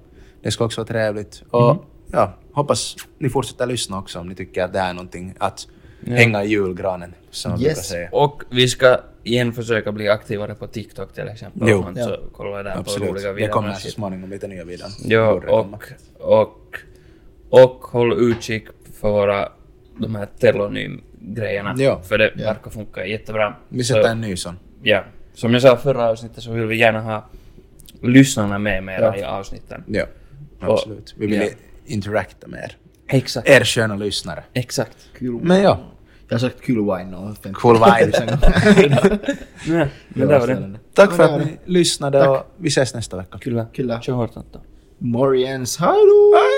Det ska också vara trevligt. Och ja, hoppas ni fortsätter lyssna också om ni tycker att det här är någonting att hänga i julgranen, som man brukar Yes. säga. Och vi ska igen försöka bli aktivare på TikTok till exempel. Jo. Om man Så kolla där på Absolut. roliga Det videor. kommer så småningom lite nya videon. Ja, Borde det komma. och, och, och håll utkik för våra de här telonym-grejerna. Ja. För det verkar funka jättebra. Vi Så, sätter en ny sån. ja. Som jag sa förra avsnittet så vill vi gärna ha lyssnarna med mera i avsnitten. Ja, absolut. Vi vill ja. interacta med er. Exakt. Er sköna lyssnare. Exakt. Kul Men ja, Jag har sagt kul wine och fem- cool *laughs* vibe. *laughs* Nej, men det var det. Tack för att ni lyssnade och vi ses nästa vecka. Kyllä. Kyllä. Se on hortantaa. Morians, hallå!